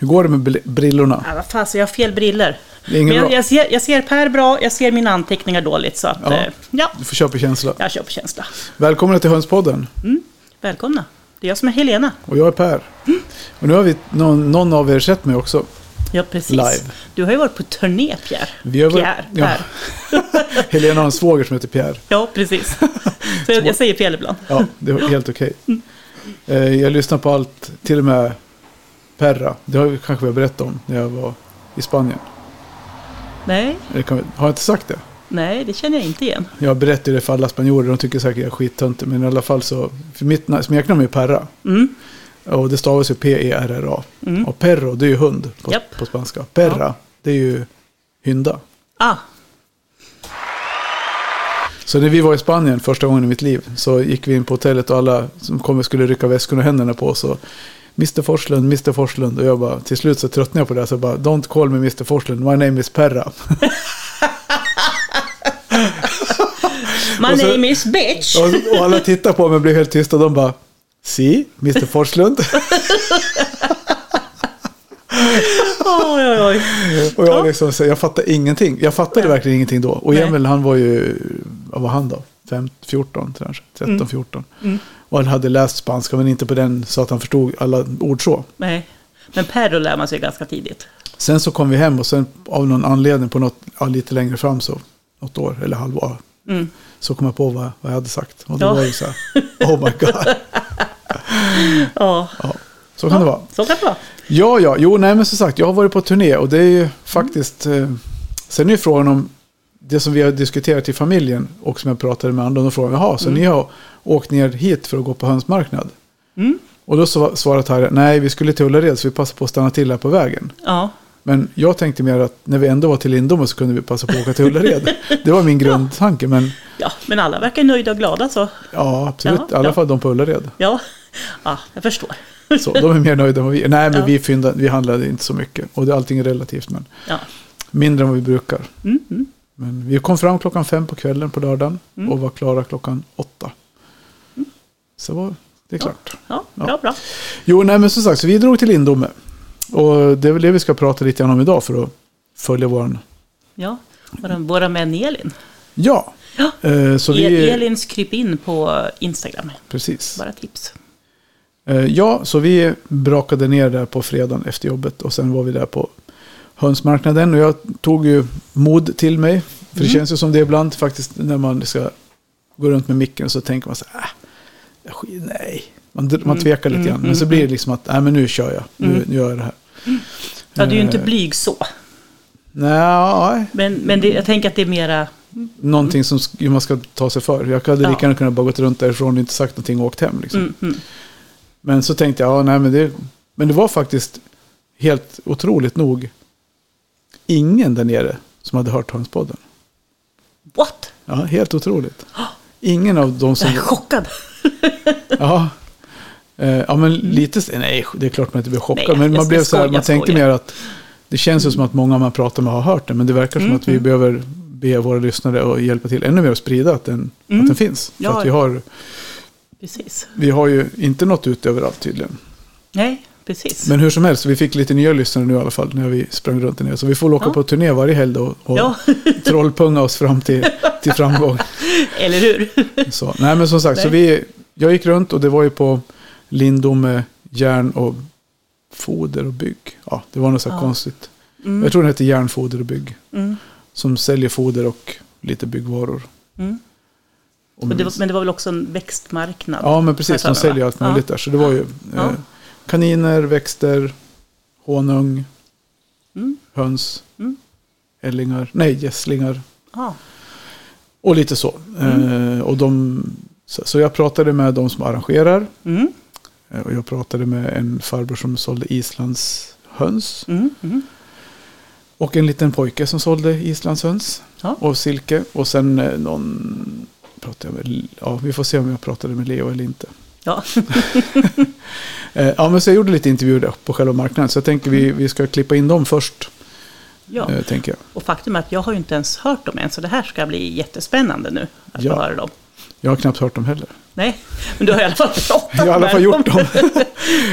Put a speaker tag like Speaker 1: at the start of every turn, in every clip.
Speaker 1: går det med bl- brillorna?
Speaker 2: Ja, Äh, vad fan, så jag har fel briller.
Speaker 1: Det är inget
Speaker 2: Men jag,
Speaker 1: bra.
Speaker 2: jag, ser, jag ser Per bra, jag ser mina anteckningar dåligt. Så att,
Speaker 1: Ja.
Speaker 2: eh, ja,
Speaker 1: Du får köpa känsla.
Speaker 2: jag kör på känsla.
Speaker 1: Välkomna till Hönspodden.
Speaker 2: Välkomna. Det är jag som är Helena.
Speaker 1: Och jag är Per. Och nu har vi någon, någon av er sett mig också.
Speaker 2: Ja, precis.
Speaker 1: Live.
Speaker 2: Du har ju varit på turné, Pierre.
Speaker 1: Vi har varit-
Speaker 2: Pierre.
Speaker 1: ja.
Speaker 2: Per.
Speaker 1: Helena har en svåger som heter Pierre.
Speaker 2: ja, precis. Så jag, jag säger fel ibland.
Speaker 1: Ja, det är helt okej. Eh, Jag lyssnar på allt, till och med Perra. Det har jag kanske jag berättat om när jag var i Spanien.
Speaker 2: Nej,
Speaker 1: Eller kan, vi- har jag inte sagt det?
Speaker 2: nej, det känner jag inte igen.
Speaker 1: Jag berättar det för alla spanjorer, de tycker säkert jag är skittöntig. Men i alla fall så, för mitt na- smeknamn är Perra.
Speaker 2: Mm.
Speaker 1: Och det stavas ju E P-E-R-R-A. Och perro, det är ju hund på,
Speaker 2: Japp.
Speaker 1: på spanska. Perra, det är ju hynda.
Speaker 2: Ah,
Speaker 1: Så när vi var i Spanien första gången i mitt liv så gick vi in på hotellet och alla som kom skulle rycka väskorna och händerna på oss. Och Mr Forslund, Mr Forslund. Och jag bara, till slut så tröttnade jag på det här, så jag bara, don't call me Mr Forslund, my name is Perra.
Speaker 2: my
Speaker 1: Och så-
Speaker 2: name is bitch.
Speaker 1: Och, och alla tittade på mig och blev helt tysta. De bara, si, Mr Forslund.
Speaker 2: Oj, oj, oj.
Speaker 1: Och jag, liksom, så jag fattade ingenting. Jag fattade
Speaker 2: Nej.
Speaker 1: verkligen ingenting då. Och
Speaker 2: Nej.
Speaker 1: Emil han var ju, vad var han då? 15, 14 kanske? 13,
Speaker 2: Mm.
Speaker 1: 14. Och han hade läst spanska men inte på den så att han förstod alla ord så.
Speaker 2: Nej. Men Perro lär man sig ganska tidigt.
Speaker 1: Sen så kom vi hem och sen av någon anledning på något, ja, lite längre fram så, något år eller halvår,
Speaker 2: Mm.
Speaker 1: så kom jag på vad, vad jag hade sagt. Och då
Speaker 2: Ja.
Speaker 1: var det så här, oh my god.
Speaker 2: Ja,
Speaker 1: Ja, så kan det vara.
Speaker 2: så kan det vara.
Speaker 1: Ja, ja, jo, nej men som sagt, jag har varit på turné och det är
Speaker 2: Mm.
Speaker 1: ju faktiskt... Eh, sen är ju frågan om det som vi har diskuterat i familjen och som jag pratade med andra, de frågade, jaha, så ni har åkt ner hit för att gå på hönsmarknad?
Speaker 2: Mm.
Speaker 1: Och då sva- svarade Tarja, nej vi skulle till Ullared så vi passade på att stanna till här på vägen.
Speaker 2: Ja,
Speaker 1: Men jag tänkte mer att när vi ändå var till Lindome så kunde vi passa på att åka till Ullared. Det var min grundtanke, men
Speaker 2: ja. men alla verkar nöjda och glada så.
Speaker 1: ja, absolut,
Speaker 2: Ja,
Speaker 1: i alla
Speaker 2: ja.
Speaker 1: fall de på Ullared.
Speaker 2: Ja, ja jag förstår.
Speaker 1: Så, de är mer nöjda än vad vi är. Nej, men
Speaker 2: Ja.
Speaker 1: vi, fynda, vi handlade inte så mycket och det, allting är relativt. Men.
Speaker 2: Ja.
Speaker 1: Mindre än vad vi brukar.
Speaker 2: Mm, mm.
Speaker 1: Men vi kom fram klockan fem på kvällen på lördagen
Speaker 2: Mm.
Speaker 1: och var klara klockan åtta. Så var det är klart.
Speaker 2: Ja,
Speaker 1: Ja.
Speaker 2: bra, bra.
Speaker 1: Jo, nej men som sagt, så vi drog till Lindome. Och det är väl det vi ska prata lite grann om idag för att följa våran...
Speaker 2: Ja, våra, våra män Elin.
Speaker 1: Ja!
Speaker 2: Ja.
Speaker 1: Eh, så vi...
Speaker 2: Elins kryp in på Instagram.
Speaker 1: Precis.
Speaker 2: Bara tips.
Speaker 1: Eh, ja, så vi brakade ner där på fredagen efter jobbet och sen var vi där på hönsmarknaden och jag tog ju mod till mig. För det känns ju som det ibland faktiskt när man ska gå runt med micken så tänker man så här, äh, jag sk- nej. Man, dr- man tvekar lite grann. Men så blir det liksom att, nej men nu kör jag, nu, nu gör jag det här.
Speaker 2: Ja, du är ju inte
Speaker 1: Eh,
Speaker 2: blyg så.
Speaker 1: Nej,
Speaker 2: Men, men det, jag tänker att det är mera...
Speaker 1: någonting som sk- man ska ta sig för. Jag hade
Speaker 2: Ja.
Speaker 1: lika gärna kunnat bara gått runt därifrån och inte sagt någonting och åkt hem. Liksom.
Speaker 2: Mm, mm.
Speaker 1: Men så tänkte jag, ja, nej, men, det, men det var faktiskt helt otroligt nog ingen där nere som hade hört Hönspodden.
Speaker 2: What?
Speaker 1: Ja, helt otroligt. Ingen av de som...
Speaker 2: Jag är chockad.
Speaker 1: Ja, Eh, ja men lite... s- Nej, det är klart man inte blev chockad.
Speaker 2: Nej,
Speaker 1: men
Speaker 2: jag
Speaker 1: man blev
Speaker 2: ska-
Speaker 1: så här,
Speaker 2: skoja,
Speaker 1: man tänkte
Speaker 2: skoja.
Speaker 1: mer att det känns ju som att många man pratar med har hört den. Men det verkar som att vi
Speaker 2: Mm,
Speaker 1: behöver be våra lyssnare att hjälpa till ännu mer att sprida att den, att den finns. För
Speaker 2: Mm. Ja.
Speaker 1: att vi har,
Speaker 2: Precis.
Speaker 1: vi har ju inte nått ut överallt tydligen.
Speaker 2: Nej, precis.
Speaker 1: Men hur som helst, vi fick lite nya lyssnare nu i alla fall när vi sprang runt där nere. Så vi får väl åka
Speaker 2: Ja.
Speaker 1: på turné varje helg då och
Speaker 2: Ja.
Speaker 1: trollpunga oss fram till, till framgång.
Speaker 2: Eller hur?
Speaker 1: Så, nej men som sagt, så
Speaker 2: Nej.
Speaker 1: vi, jag gick runt och det var ju på Lindome järn och foder och bygg. Ja, det var något så här
Speaker 2: Ja.
Speaker 1: konstigt.
Speaker 2: Mm.
Speaker 1: Jag tror den heter järn, foder och bygg.
Speaker 2: Mm,
Speaker 1: Som säljer foder och lite byggvaror.
Speaker 2: mm.
Speaker 1: Om jag
Speaker 2: Men, det var,
Speaker 1: minns.
Speaker 2: men det var väl också en växtmarknad?
Speaker 1: Ja, men precis. De
Speaker 2: Har jag för mig,
Speaker 1: säljer
Speaker 2: va?
Speaker 1: allt möjligt där. Så det var ju eh,
Speaker 2: Ja.
Speaker 1: kaniner, växter, honung,
Speaker 2: Mm.
Speaker 1: höns,
Speaker 2: Mm.
Speaker 1: ällingar, nej gässlingar
Speaker 2: Ja. och,
Speaker 1: och lite så.
Speaker 2: Mm.
Speaker 1: Eh, och de, så. Så jag pratade med de som arrangerar
Speaker 2: mm,
Speaker 1: eh, och jag pratade med en farbror som sålde Islands höns
Speaker 2: mm, mm.
Speaker 1: och en liten pojke som sålde Islands höns
Speaker 2: Ja.
Speaker 1: och silke och sen eh, någon pratade jag med, ja vi får se om jag pratade med Leo eller inte.
Speaker 2: ja.
Speaker 1: Eh, ja, men så jag gjorde lite intervjuer där på själva marknaden. Så jag tänker vi, vi ska klippa in dem först.
Speaker 2: ja.
Speaker 1: Eh, tänker jag.
Speaker 2: Och faktum är att jag har ju inte ens hört dem än, så det här ska bli jättespännande nu att
Speaker 1: Ja.
Speaker 2: få höra dem.
Speaker 1: jag har knappt hört dem heller.
Speaker 2: Nej, men du har i alla fall pratat
Speaker 1: Jag har i alla
Speaker 2: med
Speaker 1: fall gjort dem. ja,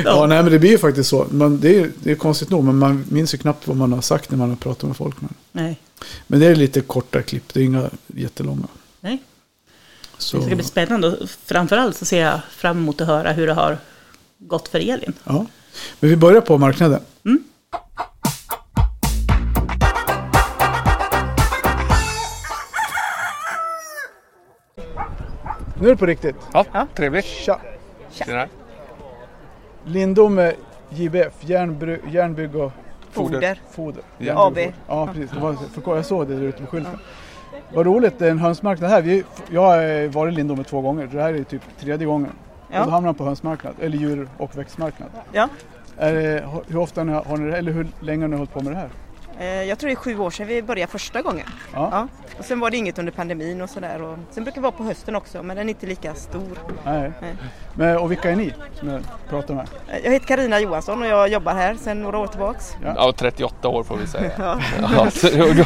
Speaker 2: Ja.
Speaker 1: nej, men det blir ju faktiskt så. Man, det, är, det är konstigt nog, men man minns ju knappt vad man har sagt när man har pratat med folk. Men,
Speaker 2: Nej,
Speaker 1: men det är lite korta klipp, det är inga jättelånga.
Speaker 2: nej.
Speaker 1: Så,
Speaker 2: Det ska bli spännande och framförallt så ser jag fram emot att höra hur det har gått för Elin.
Speaker 1: ja. Men vi börjar på marknaden.
Speaker 2: Mm.
Speaker 1: Nu är det på riktigt.
Speaker 3: Ja, trevligt.
Speaker 1: Tja!
Speaker 3: Tjena.
Speaker 1: Lindome JBF, järnbru, järnbygg och
Speaker 4: Foder.
Speaker 1: foder.
Speaker 3: Ja.
Speaker 1: Järnbygg och foder. Ja,
Speaker 4: AB.
Speaker 1: precis. Det var, för, jag såg det där ute på skylten. Vad roligt, det är en hönsmarknad här. Vi, jag har eh, varit i Lindome två gånger, så det här är typ tredje gången. Och då
Speaker 4: Ja,
Speaker 1: hamnar man på hönsmarknad, eller djur och växtmarknad.
Speaker 4: ja.
Speaker 1: Är det, hur ofta ni har, har ni det, eller hur länge har ni hållit på med det här?
Speaker 4: Eh, jag tror det är sju år sedan vi började första gången.
Speaker 1: Ja.
Speaker 4: Ja. Och sen var det inget under pandemin och sådär. Och sen brukar vi vara på hösten också men den är inte lika stor.
Speaker 1: Nej.
Speaker 4: Nej.
Speaker 1: Men, och vilka är ni som jag pratar med?
Speaker 4: Eh, Jag heter Karina Johansson och jag jobbar här sedan några år tillbaks.
Speaker 3: Ja, 38 år får vi säga.
Speaker 4: Ja.
Speaker 3: Ja, så då, då,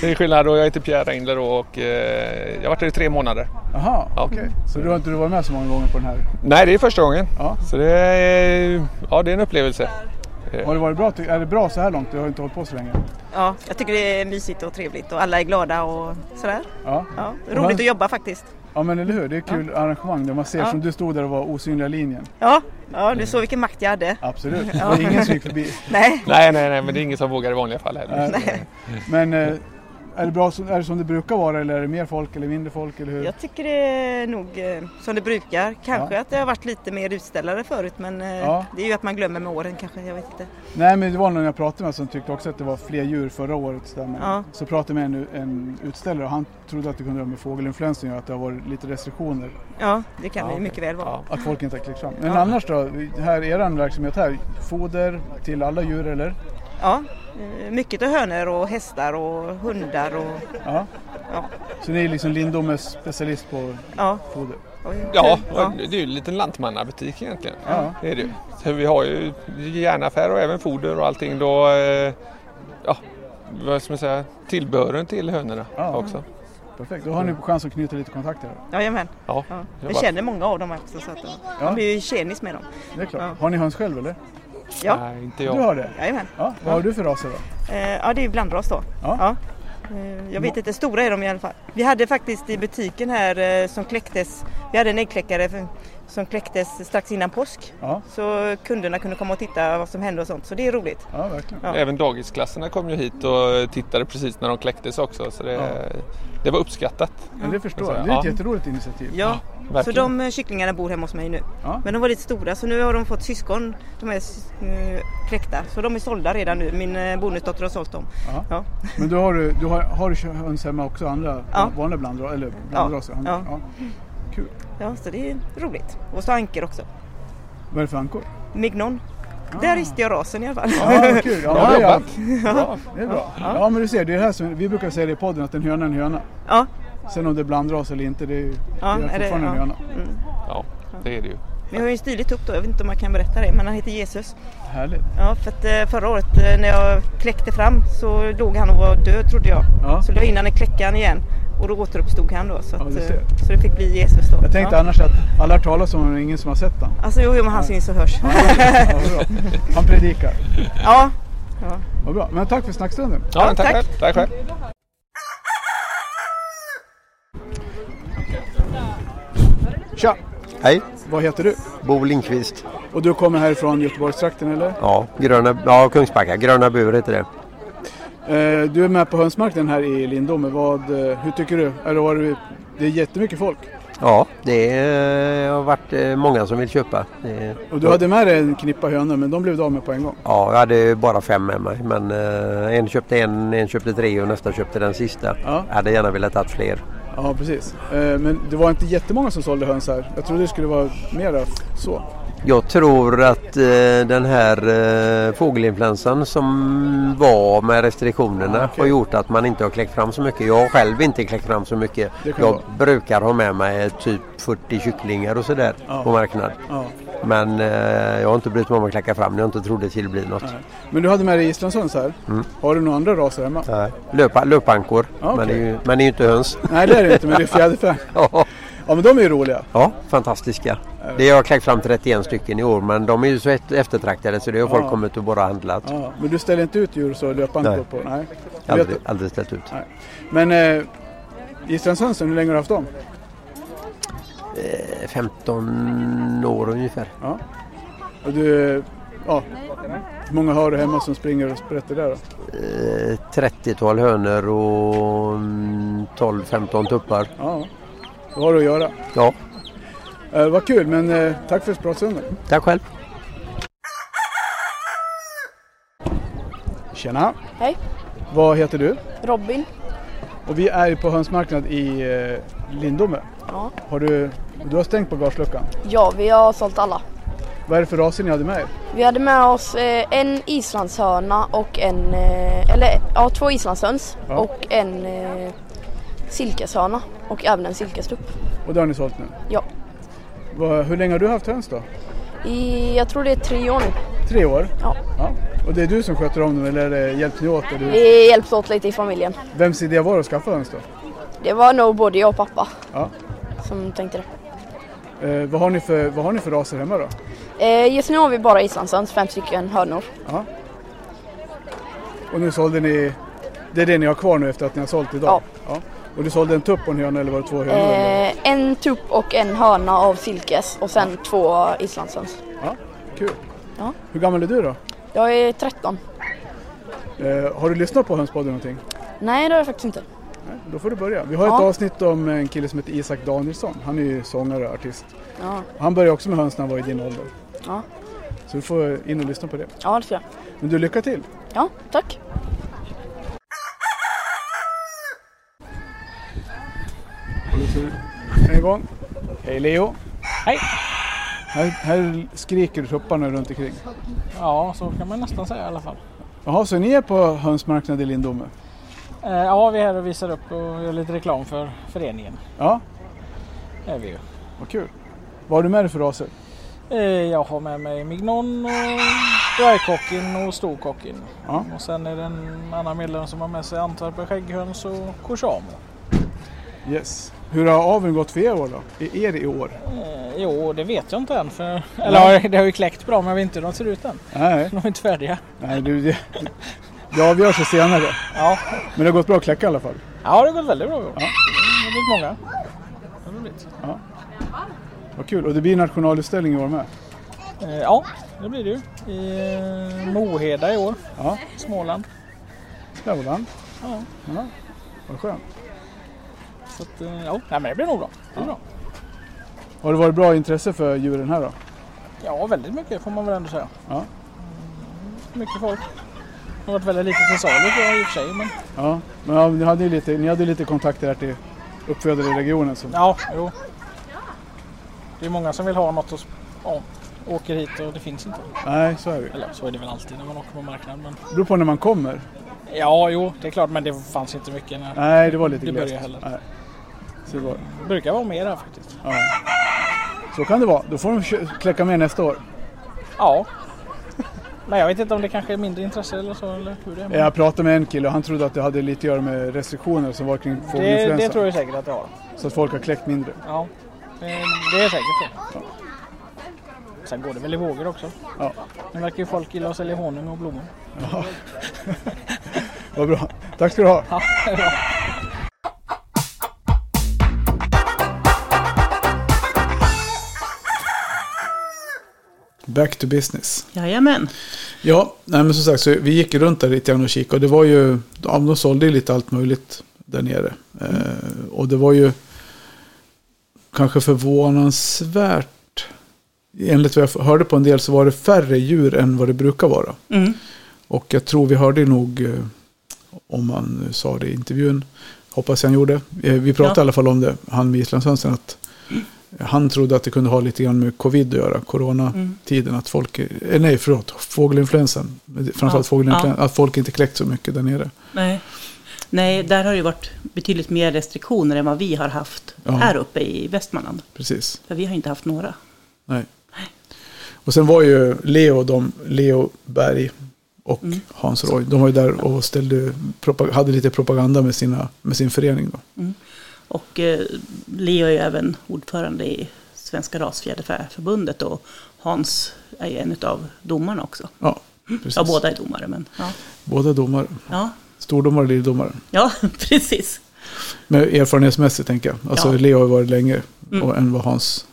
Speaker 3: det är skillnad och jag heter Pierre Engler och eh, jag har varit här i tre månader.
Speaker 1: Aha,
Speaker 3: Ja.
Speaker 1: okej. Så du har inte varit med så många gånger på den här?
Speaker 3: Nej, det är första gången.
Speaker 1: Ja.
Speaker 3: Så det är, ja, det är en upplevelse.
Speaker 1: Har det varit bra? ty- Är det bra så här långt? Du har inte hållit på så länge?
Speaker 4: ja, jag tycker det är mysigt och trevligt och alla är glada och sådär.
Speaker 1: Ja.
Speaker 4: Ja,
Speaker 1: Och han-
Speaker 4: roligt att jobba faktiskt.
Speaker 1: Ja men eller hur, det är ett kul arrangemang där man ser
Speaker 4: Ja.
Speaker 1: som du stod där och var osynliga linjen.
Speaker 4: Ja, ja du såg vilken makt jag hade.
Speaker 1: Absolut, det var ingen som gick förbi.
Speaker 4: Nej,
Speaker 3: Nej, nej, nej, men det är ingen som vågar i vanliga fall heller.
Speaker 1: Nej. Men eh, är det, bra, som- är det som det brukar vara eller är det mer folk eller mindre folk? Eller hur?
Speaker 4: jag tycker det är nog eh, som det brukar. Kanske
Speaker 1: Ja.
Speaker 4: att det har varit lite mer utställare förut men eh,
Speaker 1: Ja.
Speaker 4: det är ju att man glömmer med åren kanske. Jag vet inte.
Speaker 1: Nej men det var någon jag pratade med som tyckte också att det var fler djur förra året. Så, där, men
Speaker 4: Ja.
Speaker 1: så pratade jag med en, en utställare och han trodde att det kunde vara med fågelinfluensan och att det har varit lite restriktioner.
Speaker 4: Ja, det kan det ju mycket väl vara.
Speaker 3: Ja.
Speaker 1: Att folk inte har klickat fram. Men
Speaker 4: Ja.
Speaker 1: annars då, här, er verksamhet här, foder till alla djur eller?
Speaker 4: Ja, eh, mycket av hönor och hästar och hundar och
Speaker 1: Ja.
Speaker 4: Ja.
Speaker 1: Så ni är liksom Lindomes specialist på
Speaker 4: ja.
Speaker 1: foder?
Speaker 4: och-
Speaker 3: Ja,
Speaker 4: ja.
Speaker 3: det är ju en liten lantmannabutik egentligen.
Speaker 1: Ja.
Speaker 3: Det är det. ju. Så vi har ju järnaffär och även foder och allting då. Eh, ja, vad ska man säga, tillbehören till hönorna
Speaker 1: Ja.
Speaker 3: också.
Speaker 1: Perfekt, då har ni chans att knyta lite kontakter.
Speaker 4: Jajamän.
Speaker 3: Ja.
Speaker 4: Ja.
Speaker 3: Det
Speaker 4: Jag
Speaker 3: var-
Speaker 4: känner många av dem också så att de,
Speaker 1: Ja.
Speaker 4: de blir ju tjenis med dem.
Speaker 1: Det är klart.
Speaker 4: Ja.
Speaker 1: Har ni höns själv eller?
Speaker 4: Ja,
Speaker 3: Nej, inte jag.
Speaker 1: Du har det?
Speaker 4: jajamän.
Speaker 1: Ja. Vad har du för raser då?
Speaker 4: Eh, Ja, det är ju blandras då.
Speaker 1: Ja.
Speaker 4: Eh, Jag vet inte, stora är de i alla fall. Vi hade faktiskt i butiken här eh, som kläcktes, vi hade en äggkläckare för- som kläcktes strax innan påsk.
Speaker 1: Ja,
Speaker 4: Så kunderna kunde komma och titta vad som hände och sånt, så det är roligt.
Speaker 1: ja verkligen.
Speaker 4: Ja.
Speaker 3: Även dagisklasserna kom ju hit och tittade precis när de kläcktes också så det,
Speaker 1: Ja.
Speaker 3: det var uppskattat.
Speaker 1: Men det förstår jag. Det är
Speaker 3: Ja.
Speaker 1: ett jätteroligt initiativ.
Speaker 4: Ja, så
Speaker 3: verkligen.
Speaker 4: de eh, kycklingarna bor hemma hos mig nu.
Speaker 1: Ja.
Speaker 4: Men de var lite stora så nu har de fått syskon. De är s- eh, kläckta så de är sålda redan nu. Min eh, bonusdotter har sålt dem.
Speaker 1: Ja.
Speaker 4: Ja.
Speaker 1: Men då har du, du har, har du höns hemma också, andra
Speaker 4: Ja.
Speaker 1: vanliga blandras? Eller blandraser?
Speaker 4: Ja.
Speaker 1: andra- Kul.
Speaker 4: ja, så det är roligt. Och så anker också.
Speaker 1: Vad är det för ankor?
Speaker 4: Mignon.
Speaker 1: Ah.
Speaker 4: Där visste jag rasen i alla fall.
Speaker 1: Ja, vad kul. Ja,
Speaker 3: Bra
Speaker 1: det är-
Speaker 3: jobbat! Bra.
Speaker 1: Det är bra. Ja, men du ser, det är det här som, vi brukar säga det i podden att en höna är en höna.
Speaker 4: Ja,
Speaker 1: Sen om det är blandras eller inte, det är, ju-
Speaker 4: Ja,
Speaker 1: det är
Speaker 4: är det-
Speaker 1: fortfarande en
Speaker 4: ja.
Speaker 1: höna.
Speaker 4: mm.
Speaker 3: Ja, det är det ju.
Speaker 4: Vi har ju en stilig tupp då. Jag vet inte om man kan berätta det men han heter Jesus.
Speaker 1: Härligt.
Speaker 4: Ja, för att eh, förra året eh, när jag kläckte fram så låg han och var död trodde jag.
Speaker 1: Ja.
Speaker 4: Så la jag in han i kläckan igen. Och då återuppstod han då. Så,
Speaker 1: Ja,
Speaker 4: att,
Speaker 1: du
Speaker 4: eh,
Speaker 1: ser.
Speaker 4: så det fick bli Jesus då.
Speaker 1: Jag tänkte
Speaker 4: ja.
Speaker 1: annars att alla har talat om honom men ingen som har sett honom.
Speaker 4: Alltså jo, jo, men han syns och hörs.
Speaker 1: Ja, bra. Han predikar.
Speaker 4: Ja, ja.
Speaker 1: Vad bra. Men tack för snackstunden.
Speaker 3: Ja, men tack,
Speaker 4: tack.
Speaker 3: själv. tack själv.
Speaker 1: Tja!
Speaker 5: Hej,
Speaker 1: Vad heter du?
Speaker 5: Bo Lindqvist.
Speaker 1: Och du kommer härifrån Göteborgstrakten eller?
Speaker 5: Ja, gröna, ja Kungsbacka, Gröna Bur heter det.
Speaker 1: Eh, Du är med på hönsmarknaden här i Lindome. Vad, eh, hur tycker du? Är det, har du- det är jättemycket folk.
Speaker 5: Ja, det är- har varit eh, många som vill köpa. Det är-
Speaker 1: Och du hade med dig en knippa hönor men de blev du av med på en gång.
Speaker 5: Ja, jag hade bara fem med mig men eh, en köpte en, en köpte tre och nästa köpte den sista.
Speaker 1: Ja.
Speaker 5: Jag hade gärna velat ha fler.
Speaker 1: Ja precis. Eh, Men det var inte jättemånga som sålde höns här. Jag trodde det skulle vara mera f- så.
Speaker 5: Jag tror att eh, den här eh, fågelinfluensan som var med restriktionerna
Speaker 1: Ja, okej.
Speaker 5: har gjort att man inte har kläckt fram så mycket. Jag har själv inte kläckt fram så mycket.
Speaker 1: Det kan
Speaker 5: Jag
Speaker 1: vara.
Speaker 5: brukar ha med mig eh, typ 40 kycklingar och sådär
Speaker 1: Ja.
Speaker 5: på marknad.
Speaker 1: Ja.
Speaker 5: Men eh, jag har inte brytt mig om att kläcka fram när jag inte trodde det skulle bli något.
Speaker 1: Nej. Men du hade med dig islandshöns här. Har du några andra raser hemma?
Speaker 5: Nej. Löpa, löpankor,
Speaker 1: Ja, okej.
Speaker 5: men, det är ju, men det är ju inte höns.
Speaker 1: Nej det är det inte men det är fjäderfä.
Speaker 5: Ja,
Speaker 1: Ja, men de är ju roliga.
Speaker 5: Ja, fantastiska. Det har kläckt fram 31 stycken i år men de är ju så ett- eftertraktade så det har folk
Speaker 1: Ja.
Speaker 5: kommit och bara handlat.
Speaker 1: Ja, men du ställer inte ut djur så löpande
Speaker 5: Nej.
Speaker 1: på? Nej. Jag vet-
Speaker 5: Aldrig, aldrig ställt ut.
Speaker 1: Men eh, Islandshönsen, hur länge har du haft dem?
Speaker 5: Eh, 15 år ungefär.
Speaker 1: Och du, ja, hur många har du hemma som springer och sprätter där då?
Speaker 5: Eh, 30-tal hönor och mm, 12-15 tuppar.
Speaker 1: Ja, då har du att göra.
Speaker 5: Ja,
Speaker 1: Eh, vad kul, men eh, tack för pratstunden.
Speaker 5: tack själv.
Speaker 1: Tjena!
Speaker 6: Hej.
Speaker 1: Vad heter du?
Speaker 6: Robin.
Speaker 1: Och vi är på hönsmarknad i eh, Lindome.
Speaker 6: Ja.
Speaker 1: Har du, du har stängt bagageluckan.
Speaker 6: Ja, vi har sålt alla.
Speaker 1: Vad är det för raser ni hade med er?
Speaker 6: Vi hade med oss eh, en islandshörna och en, eh, eller ja, två islandshöns
Speaker 1: Ja.
Speaker 6: och en eh, silkeshörna och även en silkestupp.
Speaker 1: Och det har ni sålt nu?
Speaker 6: Ja.
Speaker 1: Vad- hur länge har du haft höns då?
Speaker 6: I, jag tror det är tre år nu.
Speaker 1: Tre år?
Speaker 6: Ja.
Speaker 1: Och det är du som sköter om dem eller eh, hjälper ni åt? Eller?
Speaker 6: Vi hjälpte åt lite i familjen.
Speaker 1: Vems idé var det att skaffa höns då?
Speaker 6: Det var nog både jag och pappa
Speaker 1: Ja.
Speaker 6: som tänkte det.
Speaker 1: Eh, vad, har ni för, vad har ni för raser hemma då?
Speaker 6: Eh, just nu har vi bara islandshöns, fem stycken hönor.
Speaker 1: Och nu sålde ni, det är det ni har kvar nu efter att ni har sålt idag? Ja. Och du sålde en tupp och en höna eller var det två hönor? eller?
Speaker 6: Eh, en tupp och en hörna av silkes och sen två islandshöns.
Speaker 1: Kul.
Speaker 6: ja.
Speaker 1: Hur gammal är du då?
Speaker 6: Jag är 13.
Speaker 1: Eh, har du lyssnat på Hönspodden någonting?
Speaker 6: Nej, det har jag faktiskt inte.
Speaker 1: Nej, då får du börja. Vi har ett
Speaker 6: Ja.
Speaker 1: avsnitt om en kille som heter Isak Danielsson. Han är ju sångare och artist.
Speaker 6: Ja,
Speaker 1: Han började också med höns när han var i din ålder.
Speaker 6: Ja.
Speaker 1: Så du får in och lyssna på det.
Speaker 6: ja det ska jag.
Speaker 1: Men du, lycka till!
Speaker 6: Ja, tack.
Speaker 1: En gång. Hej Leo!
Speaker 7: Hej.
Speaker 1: Här, här skriker tupparna runt omkring.
Speaker 7: Ja, så kan man nästan säga i alla fall.
Speaker 1: Jaha, så ni är på hönsmarknad i Lindome?
Speaker 7: Eh, ja, vi är här och visar upp och gör lite reklam för föreningen.
Speaker 1: Ja,
Speaker 7: Det Är vi ju.
Speaker 1: vad kul. Vad har du med dig för raser?
Speaker 7: Eh, jag har med mig Mignon, och dvärgkocken och storkocken.
Speaker 1: Ja.
Speaker 7: Och sen är det en annan medlem som har med sig Antwerpen skägghöns och korsamo.
Speaker 1: Yes. Hur har aveln gått för er, år då? I er i år?
Speaker 7: Eh, jo, det vet jag inte än. För, eller ja, det har ju kläckt bra men jag vet inte hur de ser ut än.
Speaker 1: Nej,
Speaker 7: De är inte färdiga.
Speaker 1: nej du, det, det avgörs ju senare.
Speaker 7: Ja,
Speaker 1: Men det har gått bra att kläcka i alla fall.
Speaker 7: ja det har gått väldigt bra i år. Det har blivit många. Det har blivit.
Speaker 1: Vad kul. Och det blir nationalutställning i år med.
Speaker 7: Eh, ja, det blir det ju. I eh, Moheda i år.
Speaker 1: Ja.
Speaker 7: Småland.
Speaker 1: Där var den.
Speaker 7: Ja.
Speaker 1: ja. Vad skönt.
Speaker 7: Så att, eh, ja, nej, men det blir nog bra. Det blir bra.
Speaker 1: Har det varit bra intresse för djuren här då?
Speaker 7: Ja, väldigt mycket får man väl ändå säga. Mm,
Speaker 1: Ja.
Speaker 7: Mycket folk. Det har varit väldigt lite till salu tror jag i och för sig. Men
Speaker 1: Ja, men ja, ni hade ju lite, ni hade ju lite kontakter här till uppfödare i regionen. Så.
Speaker 7: ja, jo. Det är många som vill ha något och sp- ja, åker hit och det finns inte.
Speaker 1: Nej, så är det.
Speaker 7: Eller så är det väl alltid när man åker på marknaden. Men...
Speaker 1: Det beror på när man kommer.
Speaker 7: Ja, jo, det är klart. Men det fanns inte mycket. När...
Speaker 1: Nej, det var lite
Speaker 7: Det börjar
Speaker 1: glest.
Speaker 7: heller.
Speaker 1: Nej. Så, det var, det.
Speaker 7: Det brukar vara mer här faktiskt.
Speaker 1: ja. så kan det vara. Då får de kö- kläcka med nästa år.
Speaker 7: Ja. Men jag vet inte om det kanske är mindre intresse eller så. Eller hur det är. men
Speaker 1: Eh, Jag pratade med en kille och han trodde att det hade lite att göra med restriktioner som var kring
Speaker 7: det, det tror
Speaker 1: fågelinfluensan.
Speaker 7: jag säkert att det har.
Speaker 1: Så att folk har kläckt mindre.
Speaker 7: Ja, det, det är säkert det. Sen går det väl i vågor också.
Speaker 1: Ja.
Speaker 7: Nu verkar ju folk gilla att sälja honung och blommor.
Speaker 1: Vad bra. Tack ska du ha.
Speaker 7: Ja, det är bra.
Speaker 1: Back to business.
Speaker 2: Jajamän.
Speaker 1: Ja, nej men som sagt så vi gick runt där lite grann och kikade och det var ju, ja, de sålde ju lite allt möjligt där nere. Eh, och det var ju kanske förvånansvärt, enligt vad jag hörde på en del så var det färre djur än vad det brukar vara.
Speaker 2: Mm.
Speaker 1: Och jag tror vi hörde nog, eh, om man sa det i intervjun, hoppas jag han gjorde, eh, vi pratade
Speaker 2: Ja.
Speaker 1: i alla fall om det, han med islandshönsen, att han trodde att det kunde ha lite grann med covid att göra, coronatiden,
Speaker 2: Mm.
Speaker 1: att folk, eh, nej förlåt, fågelinfluensan, framförallt
Speaker 2: Ja.
Speaker 1: fågelinfluensan, att folk inte kläckt så mycket där nere.
Speaker 2: Nej. Nej, där har det ju varit betydligt mer restriktioner än vad vi har haft
Speaker 1: Ja.
Speaker 2: här uppe i Västmanland.
Speaker 1: Precis,
Speaker 2: För vi har inte haft några.
Speaker 1: nej. Och sen var ju Leo, de, Leo Berg och
Speaker 2: Mm.
Speaker 1: Hans Roy, de var ju där och ställde, propa- hade lite propaganda med, sina, med sin förening då.
Speaker 2: Och eh, Leo är ju även ordförande i Svenska rasfjäderfäförbundet och Hans är ju en av domarna också.
Speaker 1: Ja, precis.
Speaker 2: Ja, båda är domare men ja.
Speaker 1: Båda domare.
Speaker 2: Ja,
Speaker 1: Stordomare och lilldomare.
Speaker 2: ja precis.
Speaker 1: Men erfarenhetsmässigt tänker jag. Alltså
Speaker 2: Ja.
Speaker 1: Leo har ju varit längre
Speaker 2: Mm.
Speaker 1: och, än vad Hans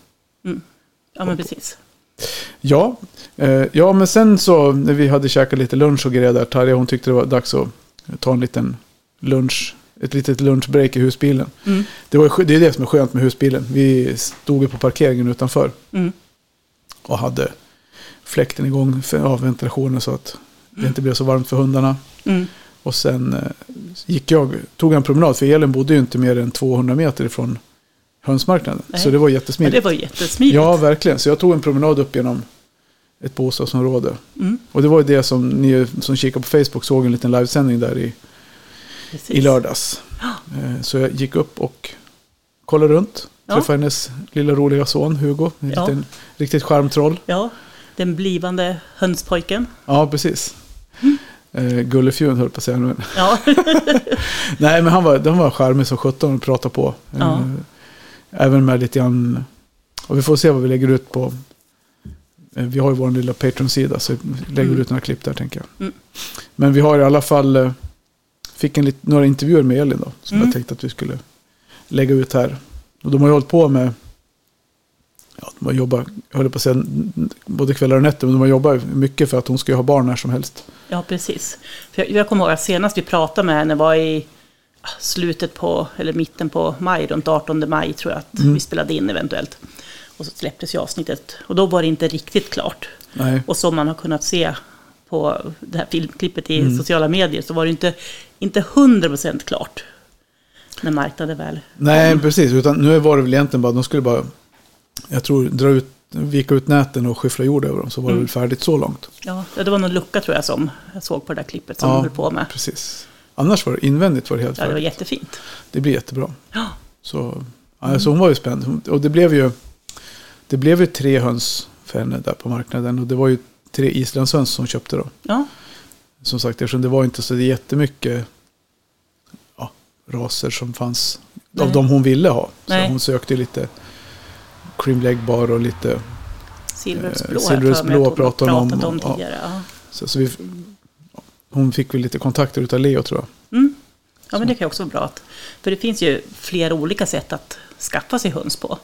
Speaker 2: Ja, men precis.
Speaker 1: Ja, eh, ja men sen så när vi hade käkat lite lunch och grejer där, Tarja hon tyckte det var dags att ta en liten lunch, ett litet lunchbreak i husbilen.
Speaker 2: Mm.
Speaker 1: Det, var, ju skö- det är det som är skönt med husbilen. Vi stod ju på parkeringen utanför
Speaker 2: Mm.
Speaker 1: och hade fläkten igång för ja, ventilationen så att det inte blev så varmt för hundarna.
Speaker 2: Mm.
Speaker 1: Och sen eh, gick jag, tog en promenad, för Elin bodde ju inte mer än 200 meter ifrån hönsmarknaden.
Speaker 2: Nej.
Speaker 1: Så det var
Speaker 2: Men
Speaker 1: jättesmidigt.
Speaker 2: det var ju jättesmidigt.
Speaker 1: Ja, verkligen. Så jag tog en promenad upp genom ett bostadsområde.
Speaker 2: Mm.
Speaker 1: Och det var ju det som ni som kikar på Facebook såg en liten livesändning där i,
Speaker 2: Precis.
Speaker 1: i lördags. Eh, Så jag gick upp och kollade runt.
Speaker 2: Ja.
Speaker 1: Träffade hennes lilla roliga son Hugo. En
Speaker 2: Ja.
Speaker 1: liten, riktigt charmtroll.
Speaker 2: Ja, den blivande hönspojken.
Speaker 1: Ja, precis.
Speaker 2: Mm.
Speaker 1: Eh, Gullefjun höll på att säga. Men,
Speaker 2: Ja,
Speaker 1: nej, men han var, han var charmig som sjutton och pratade på. Eh,
Speaker 2: Ja.
Speaker 1: Även med lite grann... Och vi får se vad vi lägger ut på... eh, Vi har ju vår lilla Patreon-sida så vi lägger
Speaker 2: Mm.
Speaker 1: ut några klipp där tänker jag.
Speaker 2: Mm.
Speaker 1: Men vi har i alla fall... eh, Fick en lit, några intervjuer med Elin då. Som
Speaker 2: Mm.
Speaker 1: jag tänkte att vi skulle lägga ut här. Och de har ju hållit på med... Ja, de har jobbat, jag höll på att säga, n- n- både kvällar och nätter. Men de har jobbat mycket för att hon ska ju ha barn när som helst.
Speaker 2: ja precis. För jag, jag kommer ihåg att senast vi pratade med henne var i ah, slutet på, eller mitten på maj, runt 18 maj tror jag
Speaker 1: Mm.
Speaker 2: att vi spelade in eventuellt. Och så släpptes ju avsnittet. Och då var det inte riktigt klart.
Speaker 1: Nej,
Speaker 2: Och som man har kunnat se på det här filmklippet i
Speaker 1: Mm.
Speaker 2: sociala medier så var det inte, inte 100% klart när marknaden väl...
Speaker 1: Nej precis. Utan nu var det väl egentligen bara, de skulle bara, jag tror, dra ut, vika ut näten och skyffla jord över dem. Så var
Speaker 2: Mm.
Speaker 1: det väl färdigt så långt.
Speaker 2: Ja, det var någon lucka tror jag som jag såg på det där klippet som
Speaker 1: Ja,
Speaker 2: de höll på med.
Speaker 1: Precis. Annars var det invändigt var det helt
Speaker 2: Ja, det var Mm.
Speaker 1: färdigt.
Speaker 2: jättefint.
Speaker 1: Det blir jättebra.
Speaker 2: Ja,
Speaker 1: Så, ja, så hon var ju spänd. Hon- Och det blev ju, det blev ju tre höns för henne där på marknaden. Och det var ju tre islandshöns som köpte då.
Speaker 2: ja,
Speaker 1: Som sagt, eftersom det var inte så jättemycket ja, raser som fanns av
Speaker 2: Nej.
Speaker 1: de hon ville ha. Så
Speaker 2: Nej.
Speaker 1: hon sökte ju lite cream bar och lite
Speaker 2: Silverets
Speaker 1: Eh,
Speaker 2: blå har jag
Speaker 1: Silverets
Speaker 2: för mig att
Speaker 1: blå
Speaker 2: hon
Speaker 1: pratade hon om,
Speaker 2: pratat om
Speaker 1: ja.
Speaker 2: tidigare. Ja.
Speaker 1: Så, så vi, ja, hon fick väl lite kontakter utav Leo tror jag.
Speaker 2: Mm. ja, men det kan ju också vara bra. Att, för det finns ju flera olika sätt att skaffa sig höns på.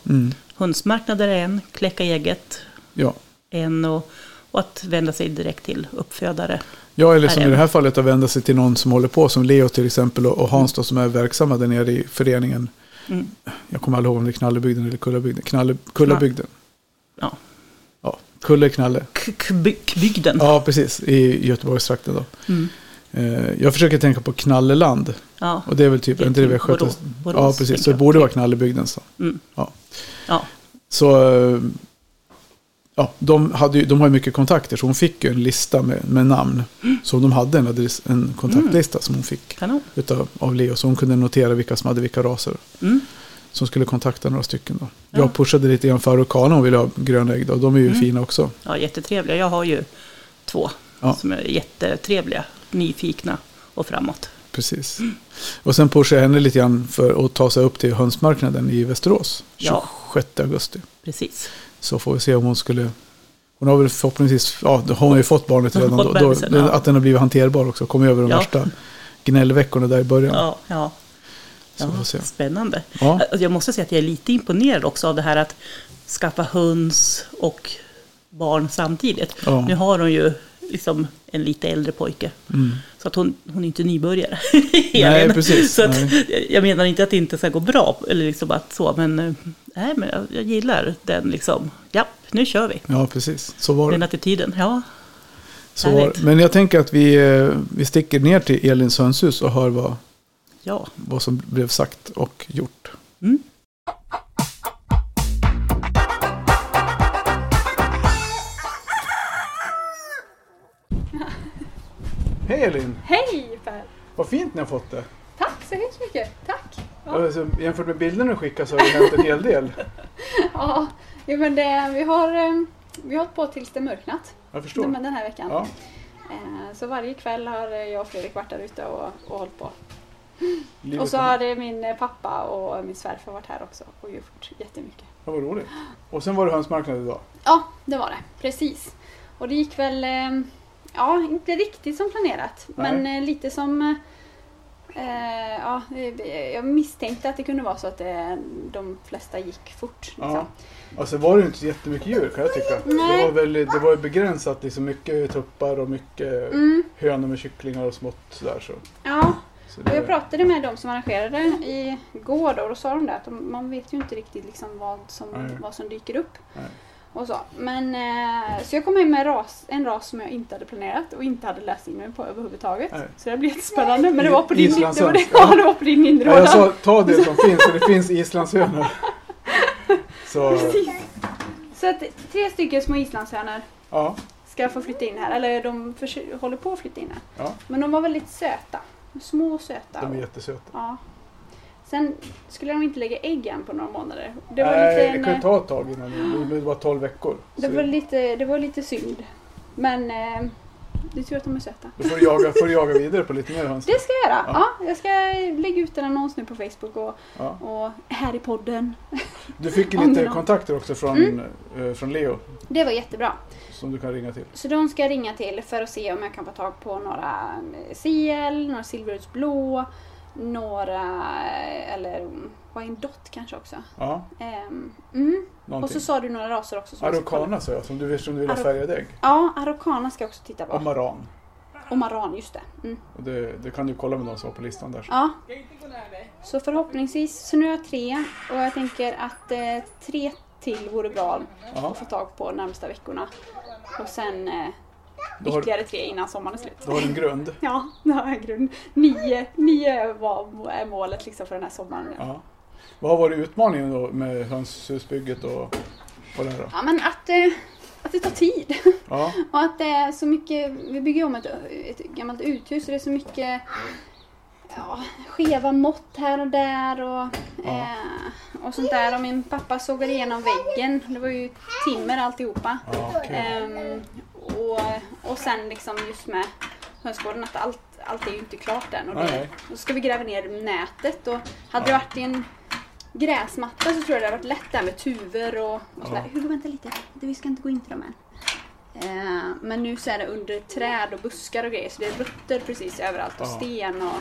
Speaker 2: Hönsmarknader är en, kläcka eget
Speaker 1: Mm. Ja.
Speaker 2: en och, och att vända sig direkt till uppfödare.
Speaker 1: ja, eller
Speaker 2: Här
Speaker 1: som
Speaker 2: är
Speaker 1: i det
Speaker 2: vi.
Speaker 1: här fallet att vända sig till någon som håller på, som Leo till exempel och, och Hans då, som är verksamma där nere i föreningen.
Speaker 2: Mm.
Speaker 1: Jag kommer aldrig ihåg om det är Knallebygden eller Kullabygden. Knalle, Kullabygden.
Speaker 2: Ja.
Speaker 1: Ja, Kulle, Knalle.
Speaker 2: K- k- Bygden. Ja.
Speaker 1: Ja, precis. I Göteborgstrakten då.
Speaker 2: Mm.
Speaker 1: Eh, Jag försöker tänka på Knalleland.
Speaker 2: Ja.
Speaker 1: Och det är väl typ,
Speaker 2: Det är
Speaker 1: inte det vi har
Speaker 2: typ
Speaker 1: skött
Speaker 2: Borås-
Speaker 1: oss-
Speaker 2: Borås,
Speaker 1: Ja, precis.
Speaker 2: tänker
Speaker 1: Så det
Speaker 2: jag.
Speaker 1: borde vara Knallebygden. Så.
Speaker 2: Mm.
Speaker 1: Ja.
Speaker 2: Ja.
Speaker 1: Så eh, ja, de, hade ju, de har ju mycket kontakter så hon fick ju en lista med, med namn. Så de hade en, adress, en kontaktlista som hon fick
Speaker 2: Kanon.
Speaker 1: utav, av Leo. Så hon kunde notera vilka som hade vilka raser.
Speaker 2: Mm.
Speaker 1: Som skulle kontakta några stycken då.
Speaker 2: Ja. Mm.
Speaker 1: Jag pushade lite grann för orkanen och ville ha gröna ägg då. De är ju fina också.
Speaker 2: Ja, jättetrevliga. Jag har ju två
Speaker 1: Ja.
Speaker 2: som är jättetrevliga, nyfikna och framåt.
Speaker 1: Precis. Och sen pushade jag henne lite grann för att ta sig upp till hönsmarknaden i Västerås.
Speaker 2: Ja.
Speaker 1: 26 augusti.
Speaker 2: Precis.
Speaker 1: Så får vi se om hon skulle... Hon har väl förhoppningsvis... Ja, hon har ju fått barnet
Speaker 2: Hon har
Speaker 1: redan.
Speaker 2: fått
Speaker 1: då, då,
Speaker 2: bebisen, ja.
Speaker 1: Att den har blivit hanterbar också. Kom över de
Speaker 2: Ja.
Speaker 1: värsta gnällveckorna där i början.
Speaker 2: Ja, ja.
Speaker 1: Så vi får se.
Speaker 2: spännande.
Speaker 1: Ja.
Speaker 2: Alltså, Jag måste säga att jag är lite imponerad också av det här att skaffa höns och barn samtidigt.
Speaker 1: Ja.
Speaker 2: Nu har hon ju liksom en lite äldre pojke. Så att hon, hon är inte nybörjare.
Speaker 1: Mm. Nej,
Speaker 2: Elin.
Speaker 1: precis.
Speaker 2: Så att, jag menar inte att det inte ska gå bra, eller liksom att så, men, eh, nej, men jag, jag gillar den liksom. Ja, nu kör vi.
Speaker 1: Ja, precis. Så var
Speaker 2: Den
Speaker 1: det.
Speaker 2: attityden, ja.
Speaker 1: Så var det.
Speaker 2: Härligt.
Speaker 1: Men jag tänker att vi, eh, vi sticker ner till Elins hönshus och hör vad,
Speaker 2: ja.
Speaker 1: vad som blev sagt och gjort.
Speaker 2: Mm.
Speaker 1: Hej Elin!
Speaker 8: Hej Per!
Speaker 1: Vad fint ni har fått det.
Speaker 8: Tack så hemskt mycket! Tack! Ja,
Speaker 1: Alltså, jämfört med bilderna du skickade så har det hänt en hel del.
Speaker 8: ja. Jo, men det, vi har eh, vi har hållit på tills det mörknat
Speaker 1: Jag förstår.
Speaker 8: den, den här veckan.
Speaker 1: Ja.
Speaker 8: Eh, Så varje kväll har eh, jag och Fredrik varit där ute och, och hållit på. Och så har det min eh, pappa och min svärfar varit här också och gjort jättemycket.
Speaker 1: Ja, vad roligt. Och sen var det hönsmarknad idag.
Speaker 8: Ja, det var det. Precis. Och det gick väl, eh, ja, inte riktigt som planerat.
Speaker 1: Nej.
Speaker 8: Men eh, lite som, eh, ja, eh, jag misstänkte att det kunde vara så att eh, de flesta gick fort. Liksom.
Speaker 1: Ja. Och sen Alltså, var det ju inte så jättemycket djur kan jag tycka. Det
Speaker 8: Nej.
Speaker 1: var, väldigt, det var ju begränsat liksom mycket tuppar och mycket
Speaker 8: Mm,
Speaker 1: hönor med kycklingar och smått sådär. Så.
Speaker 8: ja.
Speaker 1: Så
Speaker 8: Och
Speaker 1: det,
Speaker 8: jag pratade med de som arrangerade igår då, och då sa de det att de- man vet ju inte riktigt liksom vad, som,
Speaker 1: Nej.
Speaker 8: vad som dyker upp.
Speaker 1: Nej.
Speaker 8: Och så. Men, eh, så jag kom hem med ras, en ras som jag inte hade planerat och inte hade läst in mig på överhuvudtaget.
Speaker 1: Nej.
Speaker 8: Så det blev jättespännande. Men det var på din, det var det,
Speaker 1: Islandshöns, ja.
Speaker 8: ja, det var på din
Speaker 1: ja,
Speaker 8: inrådan.
Speaker 1: jag sa ta det som finns för det finns islandshönor. Så
Speaker 8: Så att tre stycken små islandshönor
Speaker 1: ja,
Speaker 8: ska få flytta in här. Eller de försö- håller på att flytta in här.
Speaker 1: Ja.
Speaker 8: Men de var väldigt söta. Små och söta.
Speaker 1: de är jättesöta.
Speaker 8: Ja. Sen skulle de inte lägga ägg än på några månader. Det var,
Speaker 1: Nej,
Speaker 8: lite,
Speaker 1: det
Speaker 8: en, eh,
Speaker 1: kan ju ta ett tag innan det- det var 12 veckor.
Speaker 8: det,
Speaker 1: Så
Speaker 8: var lite, det var lite synd. Men eh, det är tur att de är söta.
Speaker 1: Då får du jaga, får du jaga vidare på lite mer höns.
Speaker 8: Det ska jag göra.
Speaker 1: Ja.
Speaker 8: Ja. jag ska lägga ut en annons nu på Facebook och,
Speaker 1: Ja.
Speaker 8: och här i podden.
Speaker 1: Du fick ju
Speaker 8: Om
Speaker 1: lite
Speaker 8: det-
Speaker 1: kontakter också från,
Speaker 8: Mm.
Speaker 1: eh, från Leo
Speaker 8: Det var jättebra.
Speaker 1: som du kan ringa till.
Speaker 8: Så de ska jag ringa till för att se om jag kan få tag på några eh, CL, några Silveruds blå, några, eh, eller mm, vad är en dot kanske också.
Speaker 1: Ja,
Speaker 8: Ehm, mm. Och
Speaker 1: någonting.
Speaker 8: så sa du några raser också. som jag ska kolla.
Speaker 1: Araucana sa jag, som du, som du vill ha
Speaker 8: Arau-
Speaker 1: färgade ägg.
Speaker 8: Ja, Araucana ska jag också titta
Speaker 1: Och
Speaker 8: på.
Speaker 1: maran.
Speaker 8: Och maran, just det. Mm.
Speaker 1: Och det, det kan du kolla med de som var på listan där.
Speaker 8: Ja. Så förhoppningsvis, så nu har jag tre och jag tänker att eh, tre till vore bra
Speaker 1: Ja.
Speaker 8: att få tag på närmsta veckorna. Och sen eh,
Speaker 1: Då har,
Speaker 8: ytterligare tre innan sommaren är slut.
Speaker 1: då har du en grund.
Speaker 8: Ja, det har jag en grund. Nio, nio var, är målet liksom för den här sommaren. Ja.
Speaker 1: Ja. Vad har varit utmaningen då med hönshusbygget och, och det här då?
Speaker 8: men att, eh, att det tar tid.
Speaker 1: Ja,
Speaker 8: Och att det är så mycket, vi bygger om ett, ett gammalt uthus och det är så mycket ja, skeva mått här och där och, eh, och sånt där. Och min pappa sågade igenom väggen, det var ju timmer alltihopa.
Speaker 1: ja okej.
Speaker 8: Ehm, och, och sen liksom just med hönsgården att allt, allt är ju inte klart än. Och, det,
Speaker 1: Nej.
Speaker 8: och så ska vi gräva ner nätet och hade det varit i en gräsmatta så tror jag det hade varit lätt där med tuvor och, och sådär. Hugo vänta lite, Det- vi ska inte gå in till dem än. Ehm, men nu så är det under träd och buskar och grejer så det är rötter precis överallt och
Speaker 1: Ja.
Speaker 8: sten och...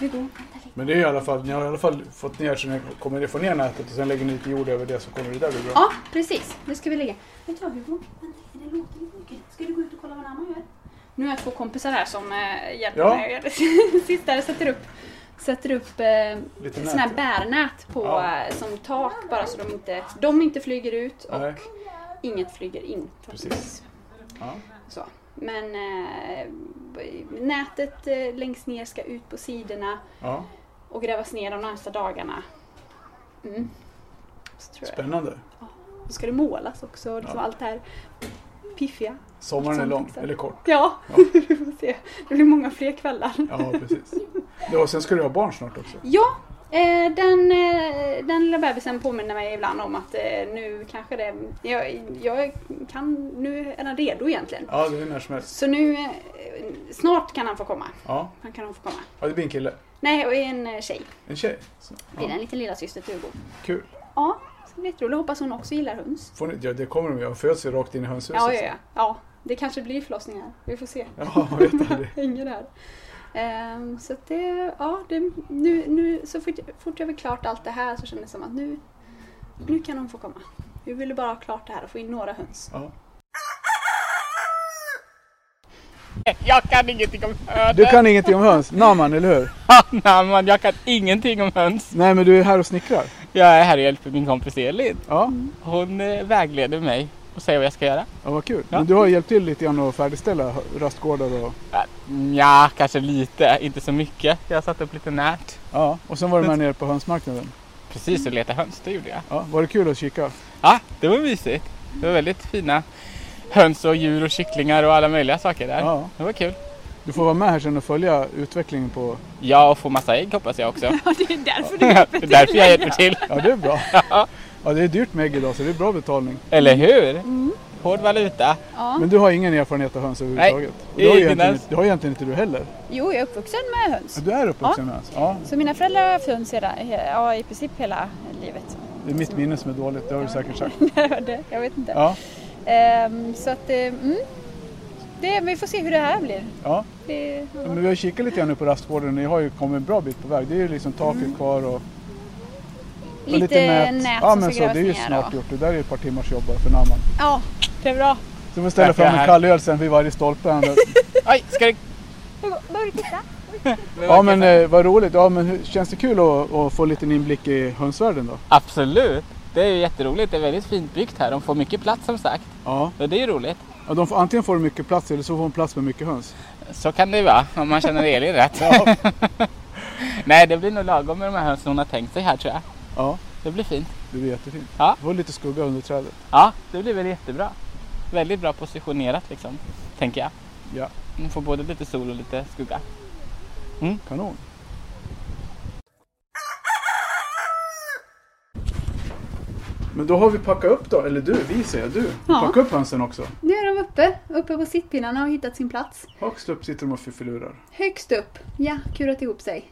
Speaker 8: Hugo, vänta lite.
Speaker 1: Men det är i alla fall, ni har i alla fall fått ner så ni kommer ni få ner nätet och sen lägger ni lite jord över det så kommer det där bli bra.
Speaker 8: Ja, precis. Det ska vi lägga. Vet du vad Hugo? Vänta lite, det låter lite mycket. Ska du gå ut och kolla vad mamma gör? Nu har jag två kompisar här som eh, hjälper
Speaker 1: Ja.
Speaker 8: mig att göra det. Sitter här och sätter upp, sätter upp eh,
Speaker 1: Lite
Speaker 8: sådana här
Speaker 1: nät.
Speaker 8: bärnät på,
Speaker 1: Ja.
Speaker 8: eh, som tak bara så de inte, de inte flyger ut och
Speaker 1: Nej.
Speaker 8: inget flyger in.
Speaker 1: Precis. Ja.
Speaker 8: Så. Men eh, b- nätet eh, längst ner ska ut på sidorna
Speaker 1: Ja,
Speaker 8: och grävas ner de närmsta dagarna. Mm. Så tror jag.
Speaker 1: spännande.
Speaker 8: Då ska det målas också och liksom allt det här piffiga.
Speaker 1: Sommaren är
Speaker 8: Sånt
Speaker 1: lång,
Speaker 8: fixar.
Speaker 1: eller kort.
Speaker 8: Ja,
Speaker 1: Ja.
Speaker 8: vi får se. Det blir många fler kvällar.
Speaker 1: Ja, precis. Ja, och sen ska du ha barn snart också.
Speaker 8: Ja, eh, den, eh, den lilla bebisen påminner mig ibland om att eh, nu kanske det... Jag, jag kan... Nu är han redo egentligen.
Speaker 1: Ja, det är när som helst.
Speaker 8: Så nu... eh, Snart kan han få komma.
Speaker 1: Ja,
Speaker 8: Han kan han få komma.
Speaker 1: ja det blir en kille.
Speaker 8: Nej, och en eh, tjej.
Speaker 1: En tjej. Så,
Speaker 8: Det blir
Speaker 1: ja,
Speaker 8: en liten lillasyster till Hugo.
Speaker 1: kul.
Speaker 8: Ja, så det blir jätteroligt. Hoppas hon också gillar höns.
Speaker 1: Får ni, ja, det kommer de göra. De föds ju rakt in i hönshuset.
Speaker 8: Ja, ja, ja. ja, det kanske blir förlossningar. Vi får se.
Speaker 1: Ja, jag vet aldrig.
Speaker 8: hänger där. Ehm, så att det, ja, det, nu, nu, så fort, fort jag var klart allt det här så kändes det som att nu, nu kan de få komma. Vi ville bara ha klart det här och få in några höns.
Speaker 1: Ja.
Speaker 9: Jag kan ingenting om höns.
Speaker 1: Du kan ingenting om höns? Naman, eller hur?
Speaker 9: Nej, man, jag kan ingenting om höns.
Speaker 1: Nej, men du är här och snickrar.
Speaker 9: Jag är här och hjälper min kompis Elin.
Speaker 1: Ja,
Speaker 9: Hon eh, vägleder mig och säger vad jag ska göra.
Speaker 1: ja vad kul.
Speaker 9: Ja.
Speaker 1: Men du har hjälpt till lite grann att färdigställa rastgårdar och...
Speaker 9: Mm, Ja, kanske lite, inte så mycket. Jag satte upp lite nät.
Speaker 1: Ja, och sen var du med nere på hönsmarknaden.
Speaker 9: Precis, och letade höns, det gjorde jag.
Speaker 1: Ja, var det kul att kika?
Speaker 9: Ja, det var mysigt. Det var väldigt fina höns och djur och kycklingar och alla möjliga saker där.
Speaker 1: Ja.
Speaker 9: Det var kul.
Speaker 1: Du får vara med här sen och följa utvecklingen på...
Speaker 9: Ja, och få massa ägg hoppas jag också.
Speaker 8: Ja, det är därför
Speaker 9: det är därför jag hjälper till.
Speaker 1: Ja, det är bra. Ja, det är dyrt med ägg idag så det är bra betalning.
Speaker 9: Eller hur? Mm. hård valuta.
Speaker 8: Ja.
Speaker 1: Men du har ingen erfarenhet av höns överhuvudtaget?
Speaker 9: Nej,
Speaker 1: det har ju
Speaker 9: ingen
Speaker 1: egentligen,
Speaker 9: alls.
Speaker 1: inte- det har ju egentligen inte du heller?
Speaker 10: Jo, jag är uppvuxen med höns.
Speaker 1: Du är uppvuxen med höns? Ja.
Speaker 10: Så mina föräldrar har haft höns hela, he- ja, i princip hela livet.
Speaker 1: Det är mitt minne som är dåligt, det har du säkert sagt.
Speaker 10: Det- jag vet inte.
Speaker 1: Ja,
Speaker 10: Ehm, så att, eh, mm. det, vi får se hur det här blir.
Speaker 1: ja.
Speaker 10: Det, ja.
Speaker 1: Men vi har kikat lite grann nu på rastgården och ni har ju kommit en bra bit på väg. Det är ju liksom taket kvar och... och
Speaker 10: Mm. Lite nät
Speaker 1: Ja
Speaker 10: som
Speaker 1: men
Speaker 10: ska
Speaker 1: så, det är
Speaker 10: grävas
Speaker 1: ju
Speaker 10: ner
Speaker 1: snart
Speaker 10: då.
Speaker 1: gjort. Det där är ju ett par timmars jobb bara för namn.
Speaker 10: ja, det är bra.
Speaker 1: Så får ställa
Speaker 9: Tackar,
Speaker 1: fram en
Speaker 9: herr.
Speaker 1: kall öl sen vid varje stolpe. här nu.
Speaker 9: Oj, ska det...
Speaker 10: Börjar titta.
Speaker 1: ja men eh, vad roligt. Ja men hur- känns det kul att, att få en liten inblick i hönsvärlden då?
Speaker 9: Absolut! Det är ju jätteroligt. Det är väldigt fint byggt här. De får mycket plats som sagt.
Speaker 1: Ja.
Speaker 9: Och det är ju roligt.
Speaker 1: ja de får, antingen får de mycket plats eller så får de plats med mycket höns.
Speaker 9: Så kan det ju vara om man känner Elin rätt. Nej, det blir nog lagom med de här hönsen hon har tänkt sig här tror jag.
Speaker 1: Ja,
Speaker 9: Det blir fint.
Speaker 1: det blir jättefint.
Speaker 9: Ja.
Speaker 1: Få lite skugga under trädet.
Speaker 9: Ja, det blir väl jättebra. Väldigt bra positionerat liksom, tänker jag.
Speaker 1: Ja.
Speaker 9: Man får både lite sol och lite skugga. Mm.
Speaker 1: Kanon. Men då har vi packat upp då, eller du, vi säger du.
Speaker 8: Ja.
Speaker 1: Packa upp hönsen också.
Speaker 8: Nu är de uppe, uppe på sittpinnarna och hittat sin plats.
Speaker 1: Högst upp sitter de och fiffilurar.
Speaker 8: Högst upp, ja, kurat ihop sig.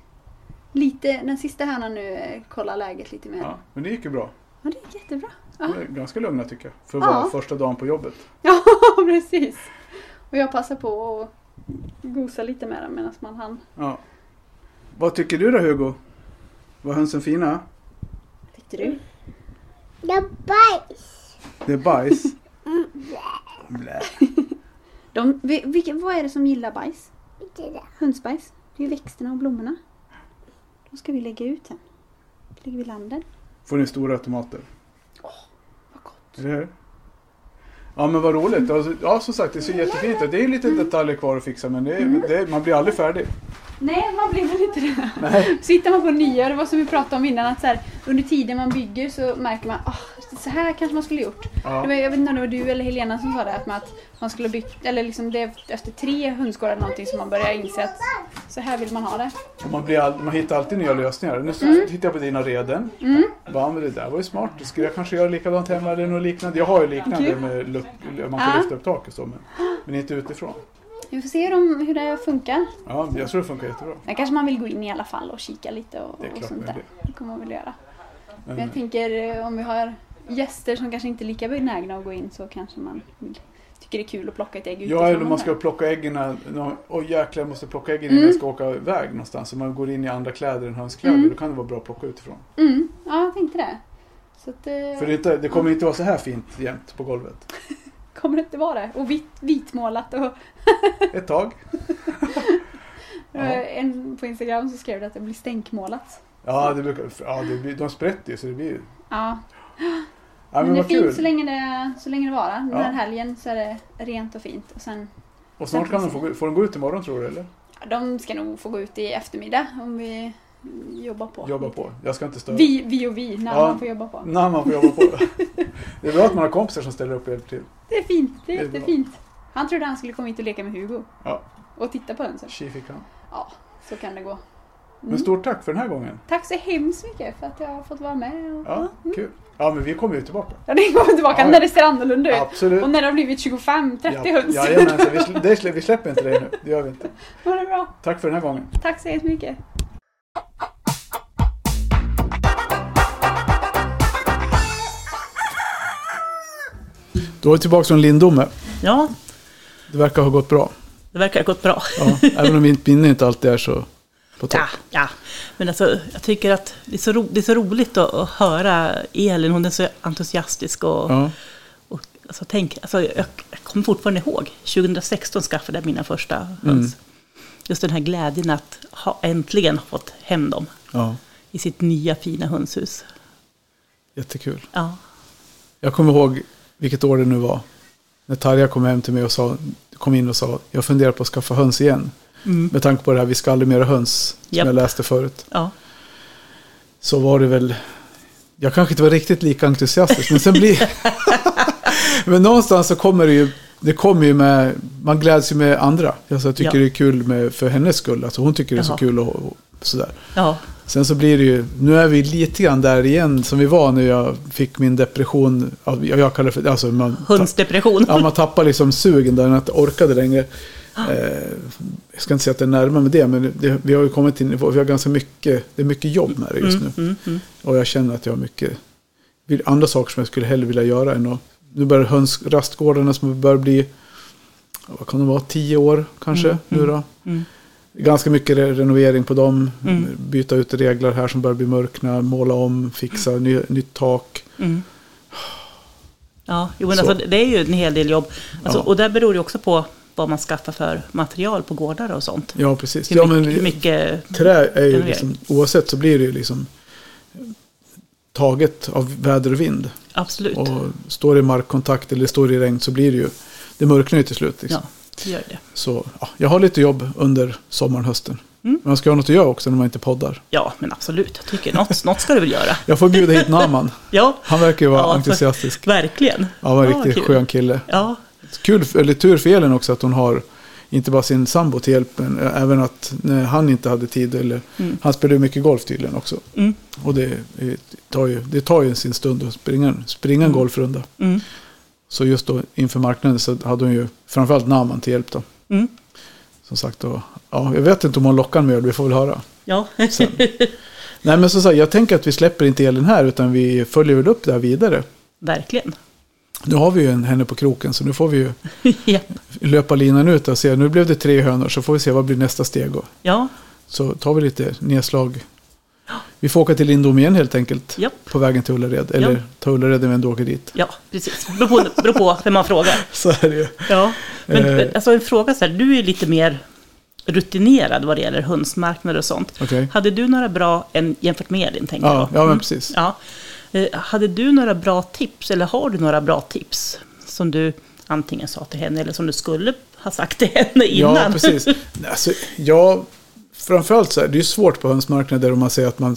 Speaker 8: Lite, den sista hönan nu eh, kollar läget lite mer. Ja,
Speaker 1: Ja. Men det gick ju bra.
Speaker 8: det gick jättebra.
Speaker 1: De
Speaker 8: Ja,
Speaker 1: är ganska lugna tycker jag. För att
Speaker 8: Ja.
Speaker 1: vara första dagen på jobbet.
Speaker 8: ja precis. Och jag passar på att gosa lite med den medan man hann.
Speaker 1: Ja. Vad tycker du då Hugo? Var hönsen fina?
Speaker 8: Tyckte du?
Speaker 1: Det är bajs.
Speaker 8: De, vi- vilka, vad är det som gillar bajs? Hönsbajs. Det är ju växterna och blommorna. De ska vi lägga ut sen. Lägger vi i landen.
Speaker 1: Får ni stora tomater?
Speaker 8: Vad gott.
Speaker 1: Eller hur? Ja men vad roligt. Alltså, ja som sagt det ser jättefint ut. Det är lite
Speaker 8: Mm.
Speaker 1: detaljer kvar att fixa men det är, det är, man blir aldrig färdig.
Speaker 8: Nej, man blir väl inte det. Så hittar man på nya, det var som vi pratade om innan, att så här, under tiden man bygger så märker man "Ah, så här kanske man skulle gjort. Det
Speaker 1: Ja.
Speaker 8: var, jag vet inte om det var du eller Helena som sa det, att, man, att man skulle ha byggt, eller liksom det är efter tre hönsgårdar eller någonting som man börjar inse att så här vill man ha det.
Speaker 1: Och Man, blir all, man hittar alltid nya lösningar. Nu så-
Speaker 8: Mm.
Speaker 1: tittar jag på dina reden. Bara, men det där var ju smart. Skulle jag kanske göra likadant hemma eller något liknande? Jag har ju liknande
Speaker 8: Kul.
Speaker 1: med luck, man kan
Speaker 8: Ja.
Speaker 1: lyfta upp taket så men, men inte utifrån.
Speaker 8: Vi får se hur, de, hur det funkar.
Speaker 1: Ja, jag tror det funkar jättebra.
Speaker 8: Sen kanske man vill gå in i alla fall och kika lite och,
Speaker 1: Det är klart
Speaker 8: och sånt
Speaker 1: man
Speaker 8: där.
Speaker 1: vill Mm.
Speaker 8: Det kommer man väl göra. Men
Speaker 1: Men-
Speaker 8: jag tänker eh, om vi har gäster som kanske inte är lika benägna att gå in så kanske man vill- tycker det är kul att plocka ett ägg
Speaker 1: Ja, eller
Speaker 8: och
Speaker 1: om man ska
Speaker 8: sånt
Speaker 1: plocka äggen. när- Åh jäklar, jag måste plocka äggen
Speaker 8: Mm.
Speaker 1: innan jag ska åka iväg någonstans. Om man går in i andra kläder än hönskläder,
Speaker 8: Mm.
Speaker 1: då kan det vara bra att plocka utifrån.
Speaker 8: där. Mm, ja, jag tänkte det. Så att, eh,
Speaker 1: För det, är inte, det kommer inte vara så här fint jämt på golvet.
Speaker 8: kommer det inte vara det. Och vit, vitmålat. Och,
Speaker 1: Ett tag. Ja.
Speaker 8: eh, en på Instagram så skrev det att det blir stänkmålat.
Speaker 1: Ja, det brukar, ja det blir, de sprätter ju så det blir ju...
Speaker 8: Ja,
Speaker 1: Ja, men
Speaker 8: men det är
Speaker 1: vad kul.
Speaker 8: fint så länge det, så länge det varar. Den
Speaker 1: Ja.
Speaker 8: här helgen så är det rent och fint. Och sen,
Speaker 1: Och snart kan de få, gå- får de gå ut imorgon tror du eller?
Speaker 8: ja, de ska nog få gå ut i eftermiddag om vi mm, jobbar på.
Speaker 1: Jobba på. Jag ska inte störa.
Speaker 8: Vi, vi och vi, när
Speaker 1: Ja.
Speaker 8: man får jobba på.
Speaker 1: När man får jobba på. Det är bra att man har kompisar som ställer upp och hjälper till.
Speaker 8: Det är fint, det
Speaker 1: Det
Speaker 8: är
Speaker 1: är bra.
Speaker 8: jättefint. Han trodde han skulle komma hit och leka med Hugo.
Speaker 1: Ja.
Speaker 8: Och titta på hönsen.
Speaker 1: Tji fick han.
Speaker 8: Så kan det gå. Mm.
Speaker 1: Men stort tack för den här gången.
Speaker 8: Tack så hemskt mycket för att jag har fått vara med. Och...
Speaker 1: Ja, kul. Ja, men vi kommer ju tillbaka.
Speaker 8: Ja, det kommer tillbaka
Speaker 1: Ja.
Speaker 8: när det ser annorlunda ut.
Speaker 1: Absolut.
Speaker 8: Och när det har blivit 25-30 höns.
Speaker 1: Ja, jajamensan. vi, slä- det slä, vi släpper inte dig nu. Det gör vi inte.
Speaker 8: Ha det bra.
Speaker 1: Tack för den här gången.
Speaker 8: Tack så hemskt mycket.
Speaker 1: Då är vi tillbaka från Lindome.
Speaker 2: Ja,
Speaker 1: Det verkar ha gått bra.
Speaker 2: det verkar ha gått bra.
Speaker 1: Ja, även om mitt minne inte alltid är så på topp.
Speaker 2: Ja, ja. Men alltså, jag tycker att det är så, ro, det är så roligt att, att höra Elin. Hon är så entusiastisk. Och,
Speaker 1: Ja.
Speaker 2: och, alltså, tänk, alltså, jag, jag kommer fortfarande ihåg. 2016 skaffade jag mina första
Speaker 1: Mm.
Speaker 2: höns. Just den här glädjen att ha, äntligen ha fått hem dem
Speaker 1: ja,
Speaker 2: i sitt nya fina hönshus.
Speaker 1: jättekul.
Speaker 2: Ja,
Speaker 1: Jag kommer ihåg vilket år det nu var. När Tarja kom hem till mig och sa, kom in och sa, jag funderar på att skaffa höns igen. Med tanke på det här, vi ska aldrig mer ha höns, som
Speaker 2: Mm. Japp.
Speaker 1: jag läste förut.
Speaker 2: ja.
Speaker 1: Så var det väl, jag kanske inte var riktigt lika entusiastisk, men sen blir... men någonstans så kommer det ju, det kommer ju med, man gläds ju med andra. Alltså jag tycker
Speaker 2: Ja.
Speaker 1: det är kul med, för hennes skull, alltså hon tycker det är så
Speaker 2: Jaha.
Speaker 1: kul och, och sådär.
Speaker 2: ja.
Speaker 1: Sen så blir det ju, nu är vi lite grann där igen som vi var när jag fick min depression. ja, Jag kallar det för, alltså man,
Speaker 2: Hundsdepression.
Speaker 1: Ja, man tappar liksom sugen där, att orkade längre.
Speaker 2: Ah.
Speaker 1: Eh, jag ska inte säga att det är närmare med det, men det, vi har ju kommit till en nivå, vi har ganska mycket, det är mycket jobb med det just nu.
Speaker 2: Mm, mm, mm.
Speaker 1: Och jag känner att jag har mycket vill- andra saker som jag skulle hellre vilja göra än att... Nu börjar höns, rastgårdarna som börjar bli, vad kan de vara, tio år kanske
Speaker 2: Mm,
Speaker 1: nu då.
Speaker 2: mm.
Speaker 1: Ganska mycket re- renovering på dem,
Speaker 2: Mm.
Speaker 1: byta ut reglar här som börjar bli mörkna, måla om, fixa, ny, nytt tak.
Speaker 2: Mm. Ja, jo, men
Speaker 1: Så.
Speaker 2: alltså, det är ju en hel del jobb. Alltså,
Speaker 1: Ja.
Speaker 2: Och där beror det också på vad man skaffar för material på gårdar och sånt.
Speaker 1: Ja, precis.
Speaker 2: Hur
Speaker 1: ja,
Speaker 2: mycket- hur mycket
Speaker 1: trä är ju
Speaker 2: renovering?
Speaker 1: liksom, oavsett så blir det ju liksom taget av väder och vind.
Speaker 2: Absolut.
Speaker 1: Och står det i markkontakt eller står det i regn så blir det ju, det mörknar ju till slut. Liksom.
Speaker 2: Ja, det gör det.
Speaker 1: Så ja, jag har lite jobb under sommaren, hösten.
Speaker 2: Mm.
Speaker 1: Men man ska ha något att göra också när man inte poddar.
Speaker 2: Ja, men absolut. Jag tycker något, något ska du väl göra.
Speaker 1: Jag får bjuda hit Naman.
Speaker 2: Ja,
Speaker 1: Han verkar ju vara
Speaker 2: Ja, för-
Speaker 1: entusiastisk.
Speaker 2: verkligen.
Speaker 1: Ja, var en
Speaker 2: Ja,
Speaker 1: riktigt
Speaker 2: kul.
Speaker 1: skön kille.
Speaker 2: Ja,
Speaker 1: Kul, eller tur för Elin också att hon har inte bara sin sambo till hjälp, men även att när han inte hade tid, eller
Speaker 2: Mm.
Speaker 1: han spelade ju mycket golf tydligen också.
Speaker 2: Mm.
Speaker 1: Och det, eh, tar ju, det tar ju sin stund att springa, en- springa en golfrunda.
Speaker 2: Mm.
Speaker 1: Så just då inför marknaden så hade hon ju framförallt Naman till hjälp då.
Speaker 2: Mm.
Speaker 1: Som sagt då, ja, jag vet inte om hon lockar med, vi får väl höra.
Speaker 2: ja.
Speaker 1: Nej men som sagt, jag tänker att vi släpper inte Elin här utan vi följer väl upp det här vidare.
Speaker 2: verkligen.
Speaker 1: Nu har vi ju en henne på kroken så nu får vi ju
Speaker 2: Ja.
Speaker 1: löpa linan ut och se. Nu blev det tre hönor så får vi se vad blir nästa steg. Och
Speaker 2: Ja,
Speaker 1: så tar vi lite nedslag. Vi får åka till Lindom igen helt enkelt.
Speaker 2: Japp.
Speaker 1: På vägen till Ullared. Eller
Speaker 2: Ja.
Speaker 1: ta Ullared när vi ändå åker dit.
Speaker 2: ja precis. Beror på, beror på vem man frågar.
Speaker 1: Så är det ju.
Speaker 2: Ja, men
Speaker 1: Eh.
Speaker 2: alltså en fråga så här, du är ju lite mer rutinerad vad det gäller hönsmarknader och sånt.
Speaker 1: Okej.
Speaker 2: Hade du några bra, en, jämfört med Elin tänker
Speaker 1: Ja,
Speaker 2: jag.
Speaker 1: ja, men
Speaker 2: Mm.
Speaker 1: precis.
Speaker 2: Ja. Eh, Hade du några bra tips, eller har du några bra tips som du antingen sa till henne eller som du skulle ha sagt till henne innan?
Speaker 1: Ja, precis. Alltså, ja, framförallt så här, det är ju svårt på hönsmarknader om man säger att man...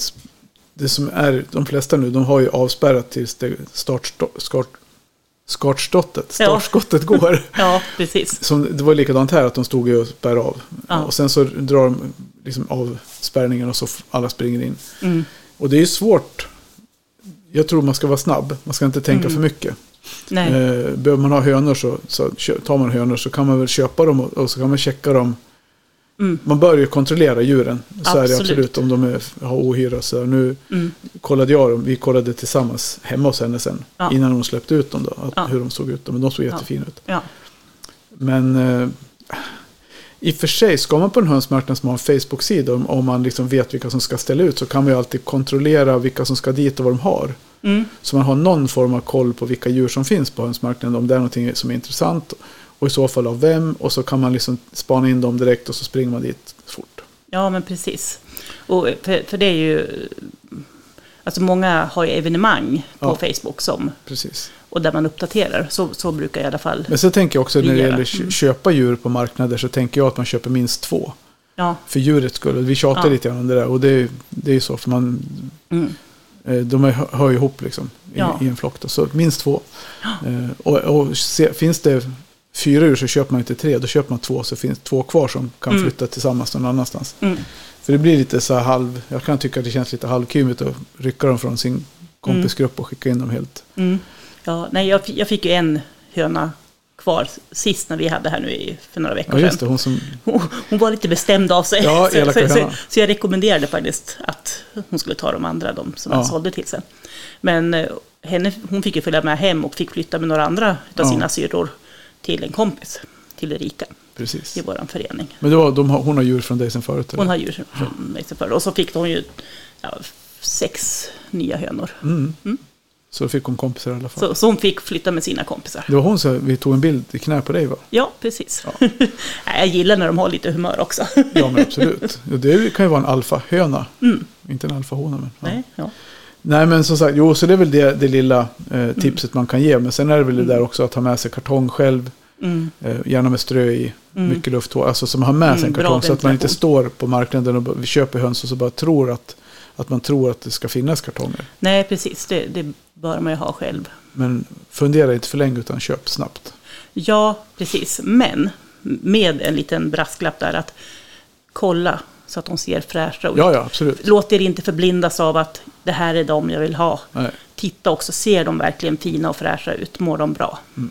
Speaker 1: Det som är, de flesta nu, de har ju avspärrat tills det start, skart, skartstottet,
Speaker 2: Ja.
Speaker 1: startskottet går.
Speaker 2: ja, precis.
Speaker 1: Som, det var likadant här, att de stod ju och spärrade av.
Speaker 2: Ja.
Speaker 1: Och sen så drar de liksom av spärrningen och så f- alla springer in.
Speaker 2: Mm.
Speaker 1: Och det är ju svårt. Jag tror man ska vara snabb, man ska inte tänka
Speaker 2: Mm.
Speaker 1: för mycket.
Speaker 2: Nej.
Speaker 1: Eh, behöver man ha hönor så, så kö- tar man hönor så kan man väl köpa dem och, och så kan man checka dem.
Speaker 2: Mm.
Speaker 1: Man bör ju kontrollera djuren. Så är det
Speaker 2: Absolut.
Speaker 1: absolut om de är, har ohyra. Så nu
Speaker 2: Mm.
Speaker 1: kollade jag dem. Vi kollade tillsammans hemma hos henne sen.
Speaker 2: Ja.
Speaker 1: Innan hon släppte ut dem då. Att,
Speaker 2: Ja.
Speaker 1: Hur de såg ut. då, Men de såg
Speaker 2: Ja.
Speaker 1: jättefina ut.
Speaker 2: Ja.
Speaker 1: Men eh, i och för sig, ska man på en hönsmarknad som har en Facebook-sida. Om, om man liksom vet vilka som ska ställa ut. Så kan man ju alltid kontrollera vilka som ska dit och vad de har.
Speaker 2: Mm.
Speaker 1: Så man har någon form av koll på vilka djur som finns på hönsmarknaden. Om det är någonting som är intressant. Och i så fall av vem. Och så kan man liksom spana in dem direkt och så springer man dit fort.
Speaker 2: Ja, men precis. Och eh, för, för det är ju... Alltså många har ju evenemang på
Speaker 1: Ja.
Speaker 2: Facebook som,
Speaker 1: Precis.
Speaker 2: och där man uppdaterar. Så, så brukar jag i alla fall...
Speaker 1: Men sen tänker jag också när det
Speaker 2: Vi gör
Speaker 1: gäller
Speaker 2: det.
Speaker 1: kö-
Speaker 2: Mm.
Speaker 1: köpa djur på marknader så tänker jag att man köper minst två.
Speaker 2: Ja,
Speaker 1: För djurets skull. Vi tjatar
Speaker 2: Ja.
Speaker 1: lite grann om det där. Och det, är- det är ju så. För man,
Speaker 2: mm.
Speaker 1: eh, de är, hör ju ihop liksom. I,
Speaker 2: Ja.
Speaker 1: i en flock. Då. Så minst två. Eh, Och, och se, finns det fyra djur så köper man inte tre. Då köper man två. Så finns två kvar som kan
Speaker 2: Mm.
Speaker 1: flytta tillsammans någon annanstans.
Speaker 2: Mm.
Speaker 1: För det blir lite så här halv, jag kan tycka att det känns lite halvkymigt att rycka dem från sin kompisgrupp och skicka in dem helt.
Speaker 2: Mm. Ja, nej, jag, fi- jag fick ju en höna kvar sist när vi hade här nu i, för några veckor
Speaker 1: Ja just det,
Speaker 2: sedan.
Speaker 1: hon som,
Speaker 2: Hon, hon var lite bestämd av sig.
Speaker 1: Ja,
Speaker 2: så,
Speaker 1: elaka
Speaker 2: så, så,
Speaker 1: höna.
Speaker 2: så jag rekommenderade faktiskt att hon skulle ta de andra, de som
Speaker 1: Ja.
Speaker 2: jag sålde till sen. Men eh, henne, hon fick ju följa med hem och fick flytta med några andra av
Speaker 1: Ja.
Speaker 2: sina syrror till en kompis, till Erika,
Speaker 1: precis.
Speaker 2: i vår förening.
Speaker 1: Men det var, de har, hon har djur från dig sen förut? eller?
Speaker 2: Hon har djur från mig sen förr. Och så fick hon ju ja, sex nya hönor.
Speaker 1: Mm. Så då fick hon kompisar i alla fall.
Speaker 2: Så, så hon fick flytta med sina kompisar.
Speaker 1: Det var hon som vi tog en bild i knä på dig va?
Speaker 2: Ja, precis. Nej, jag gillar när de har lite humör också.
Speaker 1: Ja men absolut. Jo, Det kan ju vara en alfahöna.
Speaker 2: Mm.
Speaker 1: Inte en alfahona men. Ja.
Speaker 2: Nej, ja.
Speaker 1: Nej men som sagt, jo så det är väl det, det lilla eh, tipset man kan ge. Men sen är det väl det där också att ha med sig kartong själv.
Speaker 2: Mm.
Speaker 1: Eh, gärna med strö i,
Speaker 2: Mm.
Speaker 1: mycket luft. Alltså som har med sig en
Speaker 2: Mm, bra
Speaker 1: kartong så att man inte
Speaker 2: ventilation.
Speaker 1: står på marknaden och bara, köper höns och så bara tror att, att man tror att det ska finnas kartonger.
Speaker 2: Nej, precis. Det, det bör man ju ha själv.
Speaker 1: Men fundera inte för länge utan köp snabbt.
Speaker 2: Ja, precis. Men med en liten brasklapp där att kolla så att de ser fräscha ut.
Speaker 1: Ja, ja, absolut.
Speaker 2: Låt er inte förblindas av att det här är de jag vill ha.
Speaker 1: Nej.
Speaker 2: Titta också, ser de verkligen fina och fräscha ut? Mår de bra?
Speaker 1: Mm.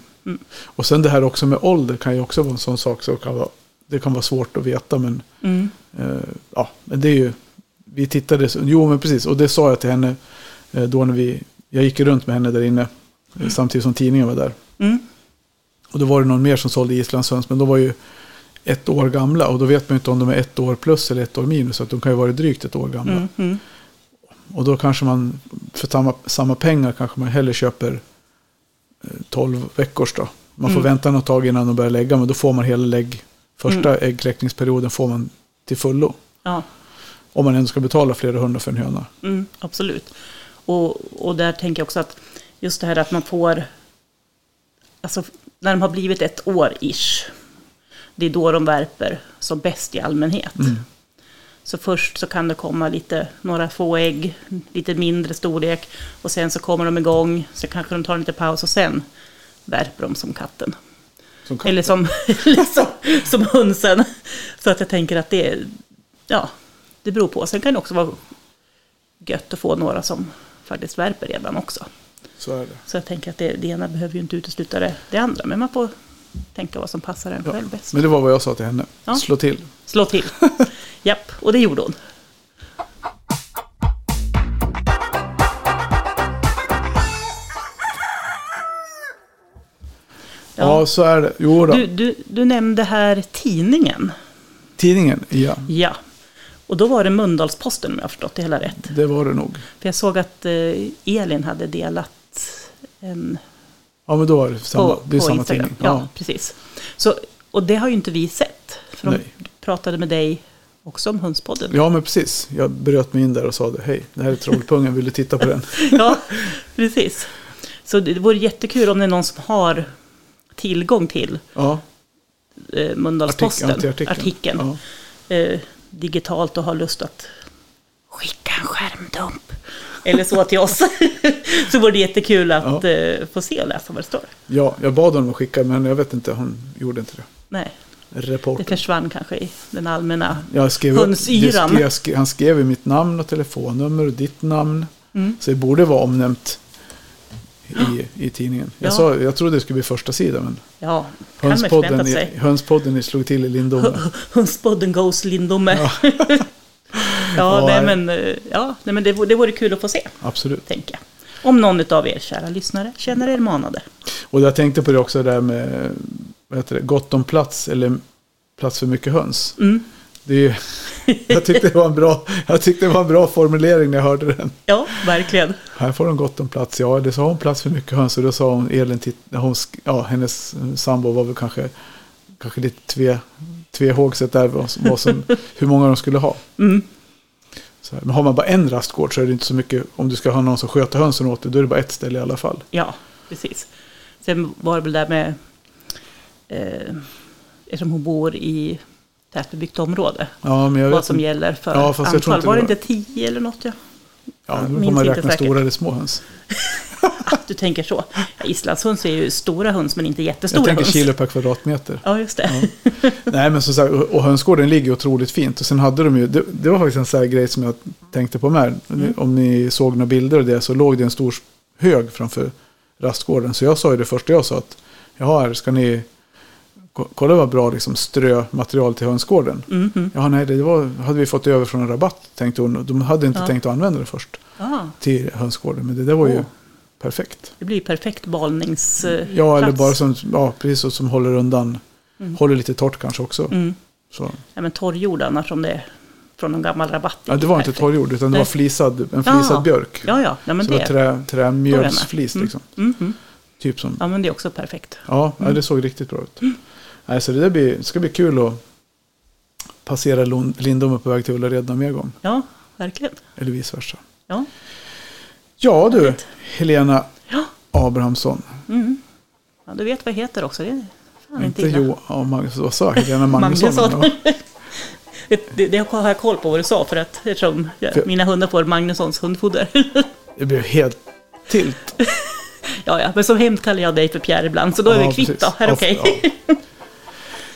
Speaker 1: Och sen det här också med ålder kan ju också vara en sån sak som kan vara, det kan vara svårt att veta. Men,
Speaker 2: Mm.
Speaker 1: eh, ja, men det är ju, vi tittade, så- jo men precis, och det sa jag till henne eh, då när vi, jag gick runt med henne där inne eh, samtidigt som tidningen var där.
Speaker 2: Mm.
Speaker 1: Och då var det någon mer som sålde islandshöns, men de var ju ett år gamla och då vet man ju inte om de är ett år plus eller ett år minus, så att de kan ju vara drygt ett år gamla.
Speaker 2: Mm, mm.
Speaker 1: Och då kanske man, för samma, samma pengar kanske man hellre köper eh, 12 veckors då. Man får
Speaker 2: Mm.
Speaker 1: vänta något tag innan de börjar lägga, men då får man hela lägg, första
Speaker 2: Mm.
Speaker 1: äggkläckningsperioden får man till fullo.
Speaker 2: Ja.
Speaker 1: Om man ändå ska betala flera hundra för en höna.
Speaker 2: Mm, absolut. Och, och där tänker jag också att just det här att man får... Alltså, när de har blivit ett år-ish, det är då de värper som bäst i allmänhet.
Speaker 1: Mm.
Speaker 2: Så först så kan det komma lite, några få ägg, lite mindre storlek, och sen så kommer de igång, så kanske de tar en liten paus och sen värper de som katten.
Speaker 1: Som
Speaker 2: Eller som, eller som, som hönsen. Så att jag tänker att det, är- ja, det beror på. Sen kan det också vara gött att få några som faktiskt värper redan också.
Speaker 1: Så är det.
Speaker 2: Så jag tänker att det, det ena behöver ju inte utesluta det, det andra. Men man får tänka vad som passar en
Speaker 1: Ja.
Speaker 2: själv bäst.
Speaker 1: Men det var vad jag sa till henne.
Speaker 2: Ja.
Speaker 1: Slå till.
Speaker 2: Slå till. Japp, och det gjorde hon.
Speaker 1: Ja, så är det. Jo då.
Speaker 2: Du, du, du nämnde här tidningen.
Speaker 1: Tidningen, ja.
Speaker 2: Ja. Och då var det Mölndalsposten om jag har förstått det hela rätt.
Speaker 1: Det var det nog.
Speaker 2: För jag såg att eh, Elin hade delat en
Speaker 1: Ja, men då var det samma,
Speaker 2: på,
Speaker 1: det är
Speaker 2: på
Speaker 1: samma
Speaker 2: Instagram.
Speaker 1: tidning.
Speaker 2: Ja, precis. Så, och det har ju inte vi sett. För de
Speaker 1: Nej.
Speaker 2: pratade med dig också om Hönspodden.
Speaker 1: ja, men precis. Jag bröt mig in där och sa det. Hej, det här är Trollpungen. Vill du titta på den?
Speaker 2: ja, precis. Så det vore jättekul om det är någon som har tillgång till
Speaker 1: Ja.
Speaker 2: eh, Mölndalsposten,
Speaker 1: Artikeln, till
Speaker 2: artikeln,
Speaker 1: artikeln.
Speaker 2: eh, digitalt och har lust att skicka en skärmdump eller så till oss. så vore det jättekul att eh, få se och läsa vad det står.
Speaker 1: Ja, jag bad honom att skicka, men jag vet inte. Hon gjorde inte det.
Speaker 2: Nej, det
Speaker 1: Reporter.
Speaker 2: försvann kanske i den allmänna
Speaker 1: Jag skrev, det
Speaker 2: hönsyran.
Speaker 1: skrev, jag skrev, han skrev ju mitt namn och telefonnummer och ditt namn.
Speaker 2: Mm.
Speaker 1: Så det borde vara omnämnt i, i tidningen. Jag,
Speaker 2: Ja.
Speaker 1: sa, jag trodde det skulle bli första sidan, men
Speaker 2: Ja, kan man ju förvänta
Speaker 1: hönspodden, i,
Speaker 2: sig.
Speaker 1: hönspodden i slog till i Lindome.
Speaker 2: Hönspodden goes Lindome. Ja,
Speaker 1: Ja,
Speaker 2: nej,
Speaker 1: nej.
Speaker 2: men, eh, ja, nej, men det, vore- det vore kul att få se,
Speaker 1: Absolut.
Speaker 2: tänker jag. Om någon av er kära lyssnare känner er manade.
Speaker 1: Och jag tänkte på det också där med vad heter det, gott om plats eller plats för mycket höns.
Speaker 2: Mm.
Speaker 1: Det är, ju- jag, tyckte det var en bra, jag tyckte det var en bra formulering när jag hörde den.
Speaker 2: Ja, verkligen.
Speaker 1: Här får de gott om plats. Ja, det sa hon plats för mycket höns. Och då sa hon, Elin, titt- när hon, sk- ja, hennes sambo var väl kanske, kanske lite tve, tvehågset där vad som, vad som, hur många de skulle ha.
Speaker 2: Mm.
Speaker 1: Så här, men har man bara en rastgård så är det inte så mycket, om du ska ha någon som sköter hönsen åt dig, då är det bara ett ställe i alla fall.
Speaker 2: Ja, precis. Sen var det väl där med... Eh, eftersom hon bor i tätbebyggt område.
Speaker 1: Ja, men jag
Speaker 2: vad
Speaker 1: vet
Speaker 2: som
Speaker 1: inte.
Speaker 2: gäller för
Speaker 1: Ja, fast jag tror
Speaker 2: antal.
Speaker 1: inte det
Speaker 2: var det
Speaker 1: var-
Speaker 2: inte tio eller något? Ja.
Speaker 1: Ja,
Speaker 2: Jag
Speaker 1: då får
Speaker 2: minns
Speaker 1: man
Speaker 2: inte
Speaker 1: räkna
Speaker 2: säkert.
Speaker 1: stora eller små höns.
Speaker 2: Ah, Du tänker så. Ja, Islandshöns är ju stora höns men inte jättestora
Speaker 1: Jag tänker
Speaker 2: höns.
Speaker 1: kilo per kvadratmeter.
Speaker 2: Ja, just det.
Speaker 1: Nej, men som sagt, och- och hönsgården ligger otroligt fint. Och sen hade de ju, det, det var faktiskt en sån här grej som jag tänkte på
Speaker 2: Mm.
Speaker 1: med. Om ni såg några bilder och det så låg det en stor hög framför rastgården. Så jag sa ju det första jag sa att, jaha, här ska ni ko- kolla vad bra liksom, strömaterial till hönsgården.
Speaker 2: Mhm.
Speaker 1: Ja, nej, det var, hade vi fått över från en rabatt, tänkte hon. De hade inte
Speaker 2: Ja.
Speaker 1: tänkt att använda det först
Speaker 2: Ah,
Speaker 1: till hönsgården, men det där var ju
Speaker 2: Oh.
Speaker 1: perfekt.
Speaker 2: det blir ju perfekt balnings... eh,
Speaker 1: Ja, eller
Speaker 2: plats.
Speaker 1: bara som, ja, precis, och som håller undan, håller lite torrt kanske också.
Speaker 2: Mm.
Speaker 1: Så.
Speaker 2: Ja, men torrjord annars om det är från någon gammal rabatt.
Speaker 1: Ja, det var inte
Speaker 2: Perfekt.
Speaker 1: torrjord utan det
Speaker 2: Nej.
Speaker 1: var flisad, en flisad
Speaker 2: Ja.
Speaker 1: björk.
Speaker 2: Ja, ja. Nej, men
Speaker 1: så det
Speaker 2: det,
Speaker 1: var trä, trämjölsflis
Speaker 2: Mm.
Speaker 1: liksom.
Speaker 2: Mhm.
Speaker 1: Typ som,
Speaker 2: ja, men det är också perfekt.
Speaker 1: ja, ja, det såg riktigt bra ut. Nej, så det där blir, ska bli kul att passera Lund- Lindome på väg till Ullared någon mer gång.
Speaker 2: Ja, verkligen.
Speaker 1: Eller vice versa.
Speaker 2: Ja.
Speaker 1: Ja du, Helena
Speaker 2: Ja.
Speaker 1: Abrahamsson.
Speaker 2: Mm. Ja, du vet vad jag heter också. Det är fan inte
Speaker 1: Inte
Speaker 2: illa.
Speaker 1: Jo, ja, Magnus, vad sa jag? Helena Magnusson.
Speaker 2: Magnusson.
Speaker 1: ja.
Speaker 2: Det, det, det har jag koll på vad du sa för att eftersom jag,
Speaker 1: För-
Speaker 2: mina hundar får Magnussons hundfoder.
Speaker 1: Det blev helt tilt.
Speaker 2: ja, ja, men som hämnd kallar jag dig för Pierre ibland så då är
Speaker 1: Ja,
Speaker 2: vi kvitt
Speaker 1: precis. Alltså,
Speaker 2: då. Här,
Speaker 1: Ja,
Speaker 2: okej.
Speaker 1: ja.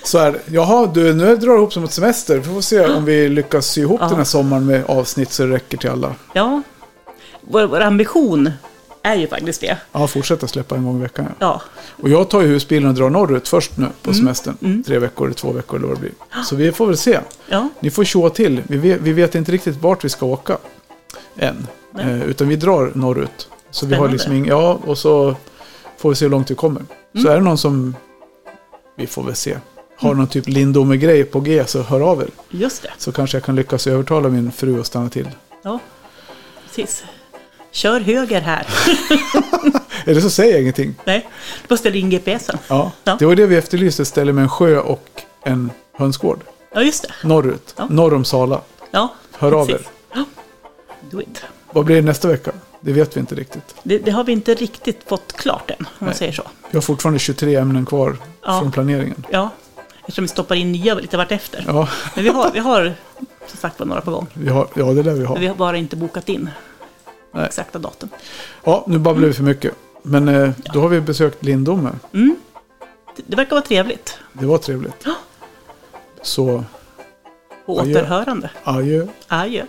Speaker 1: så här, jaha du, nu drar det ihop som ett semester. Vi får se om vi lyckas sy ihop
Speaker 2: Ja.
Speaker 1: den här sommaren med avsnitt så det räcker till alla.
Speaker 2: Ja, vår, vår ambition är ju faktiskt det.
Speaker 1: Ja, fortsätta släppa en gång i veckan. Ja.
Speaker 2: Ja,
Speaker 1: Och jag tar ju husbilen och drar norrut först nu på
Speaker 2: Mm,
Speaker 1: semestern.
Speaker 2: mm.
Speaker 1: Tre veckor eller två veckor eller vad det blir. Så vi får väl se.
Speaker 2: ja.
Speaker 1: Ni får tjoa till. Vi vet, vi vet inte riktigt vart vi ska åka än.
Speaker 2: Nej.
Speaker 1: Eh, utan vi drar norrut. Så vi har
Speaker 2: Spännande. Mm.
Speaker 1: liksom ing, Ja, och så får vi se hur långt vi kommer. Så är det någon som... Vi får väl se. Har någon typ Lindome-grej på G så hör av er.
Speaker 2: just det.
Speaker 1: Så kanske jag kan lyckas övertala min fru att stanna till.
Speaker 2: Ja, precis. Kör höger här.
Speaker 1: Eller så säger jag ingenting.
Speaker 2: Nej, du bara ställer in GPSen.
Speaker 1: Ja.
Speaker 2: Ja.
Speaker 1: Det var det vi efterlyste. Ett ställe med en sjö och en hönsgård.
Speaker 2: Ja, just det.
Speaker 1: Norrut.
Speaker 2: Ja.
Speaker 1: Norr om Sala.
Speaker 2: Ja,
Speaker 1: Hör av
Speaker 2: precis.
Speaker 1: er.
Speaker 2: Ja, do it.
Speaker 1: Vad blir det nästa vecka? Det vet vi inte riktigt.
Speaker 2: Det, det har vi inte riktigt fått klart än, om man
Speaker 1: Nej.
Speaker 2: säger så.
Speaker 1: Vi har fortfarande 23 ämnen kvar
Speaker 2: Ja.
Speaker 1: från planeringen.
Speaker 2: Ja, eftersom vi stoppar in nya lite vartefter.
Speaker 1: Ja,
Speaker 2: Men vi har, vi har som sagt var några på gång.
Speaker 1: vi har, ja det lär vi ha.
Speaker 2: Men vi har bara inte bokat in
Speaker 1: Nej.
Speaker 2: exakta datum.
Speaker 1: Ja, nu babblar vi för mycket. Men eh, då har vi besökt Lindome.
Speaker 2: Mm. Det, det verkar vara trevligt.
Speaker 1: Det var trevligt.
Speaker 2: Ja.
Speaker 1: Så
Speaker 2: På
Speaker 1: Adjö.
Speaker 2: återhörande.
Speaker 1: adjö.
Speaker 2: Adjö.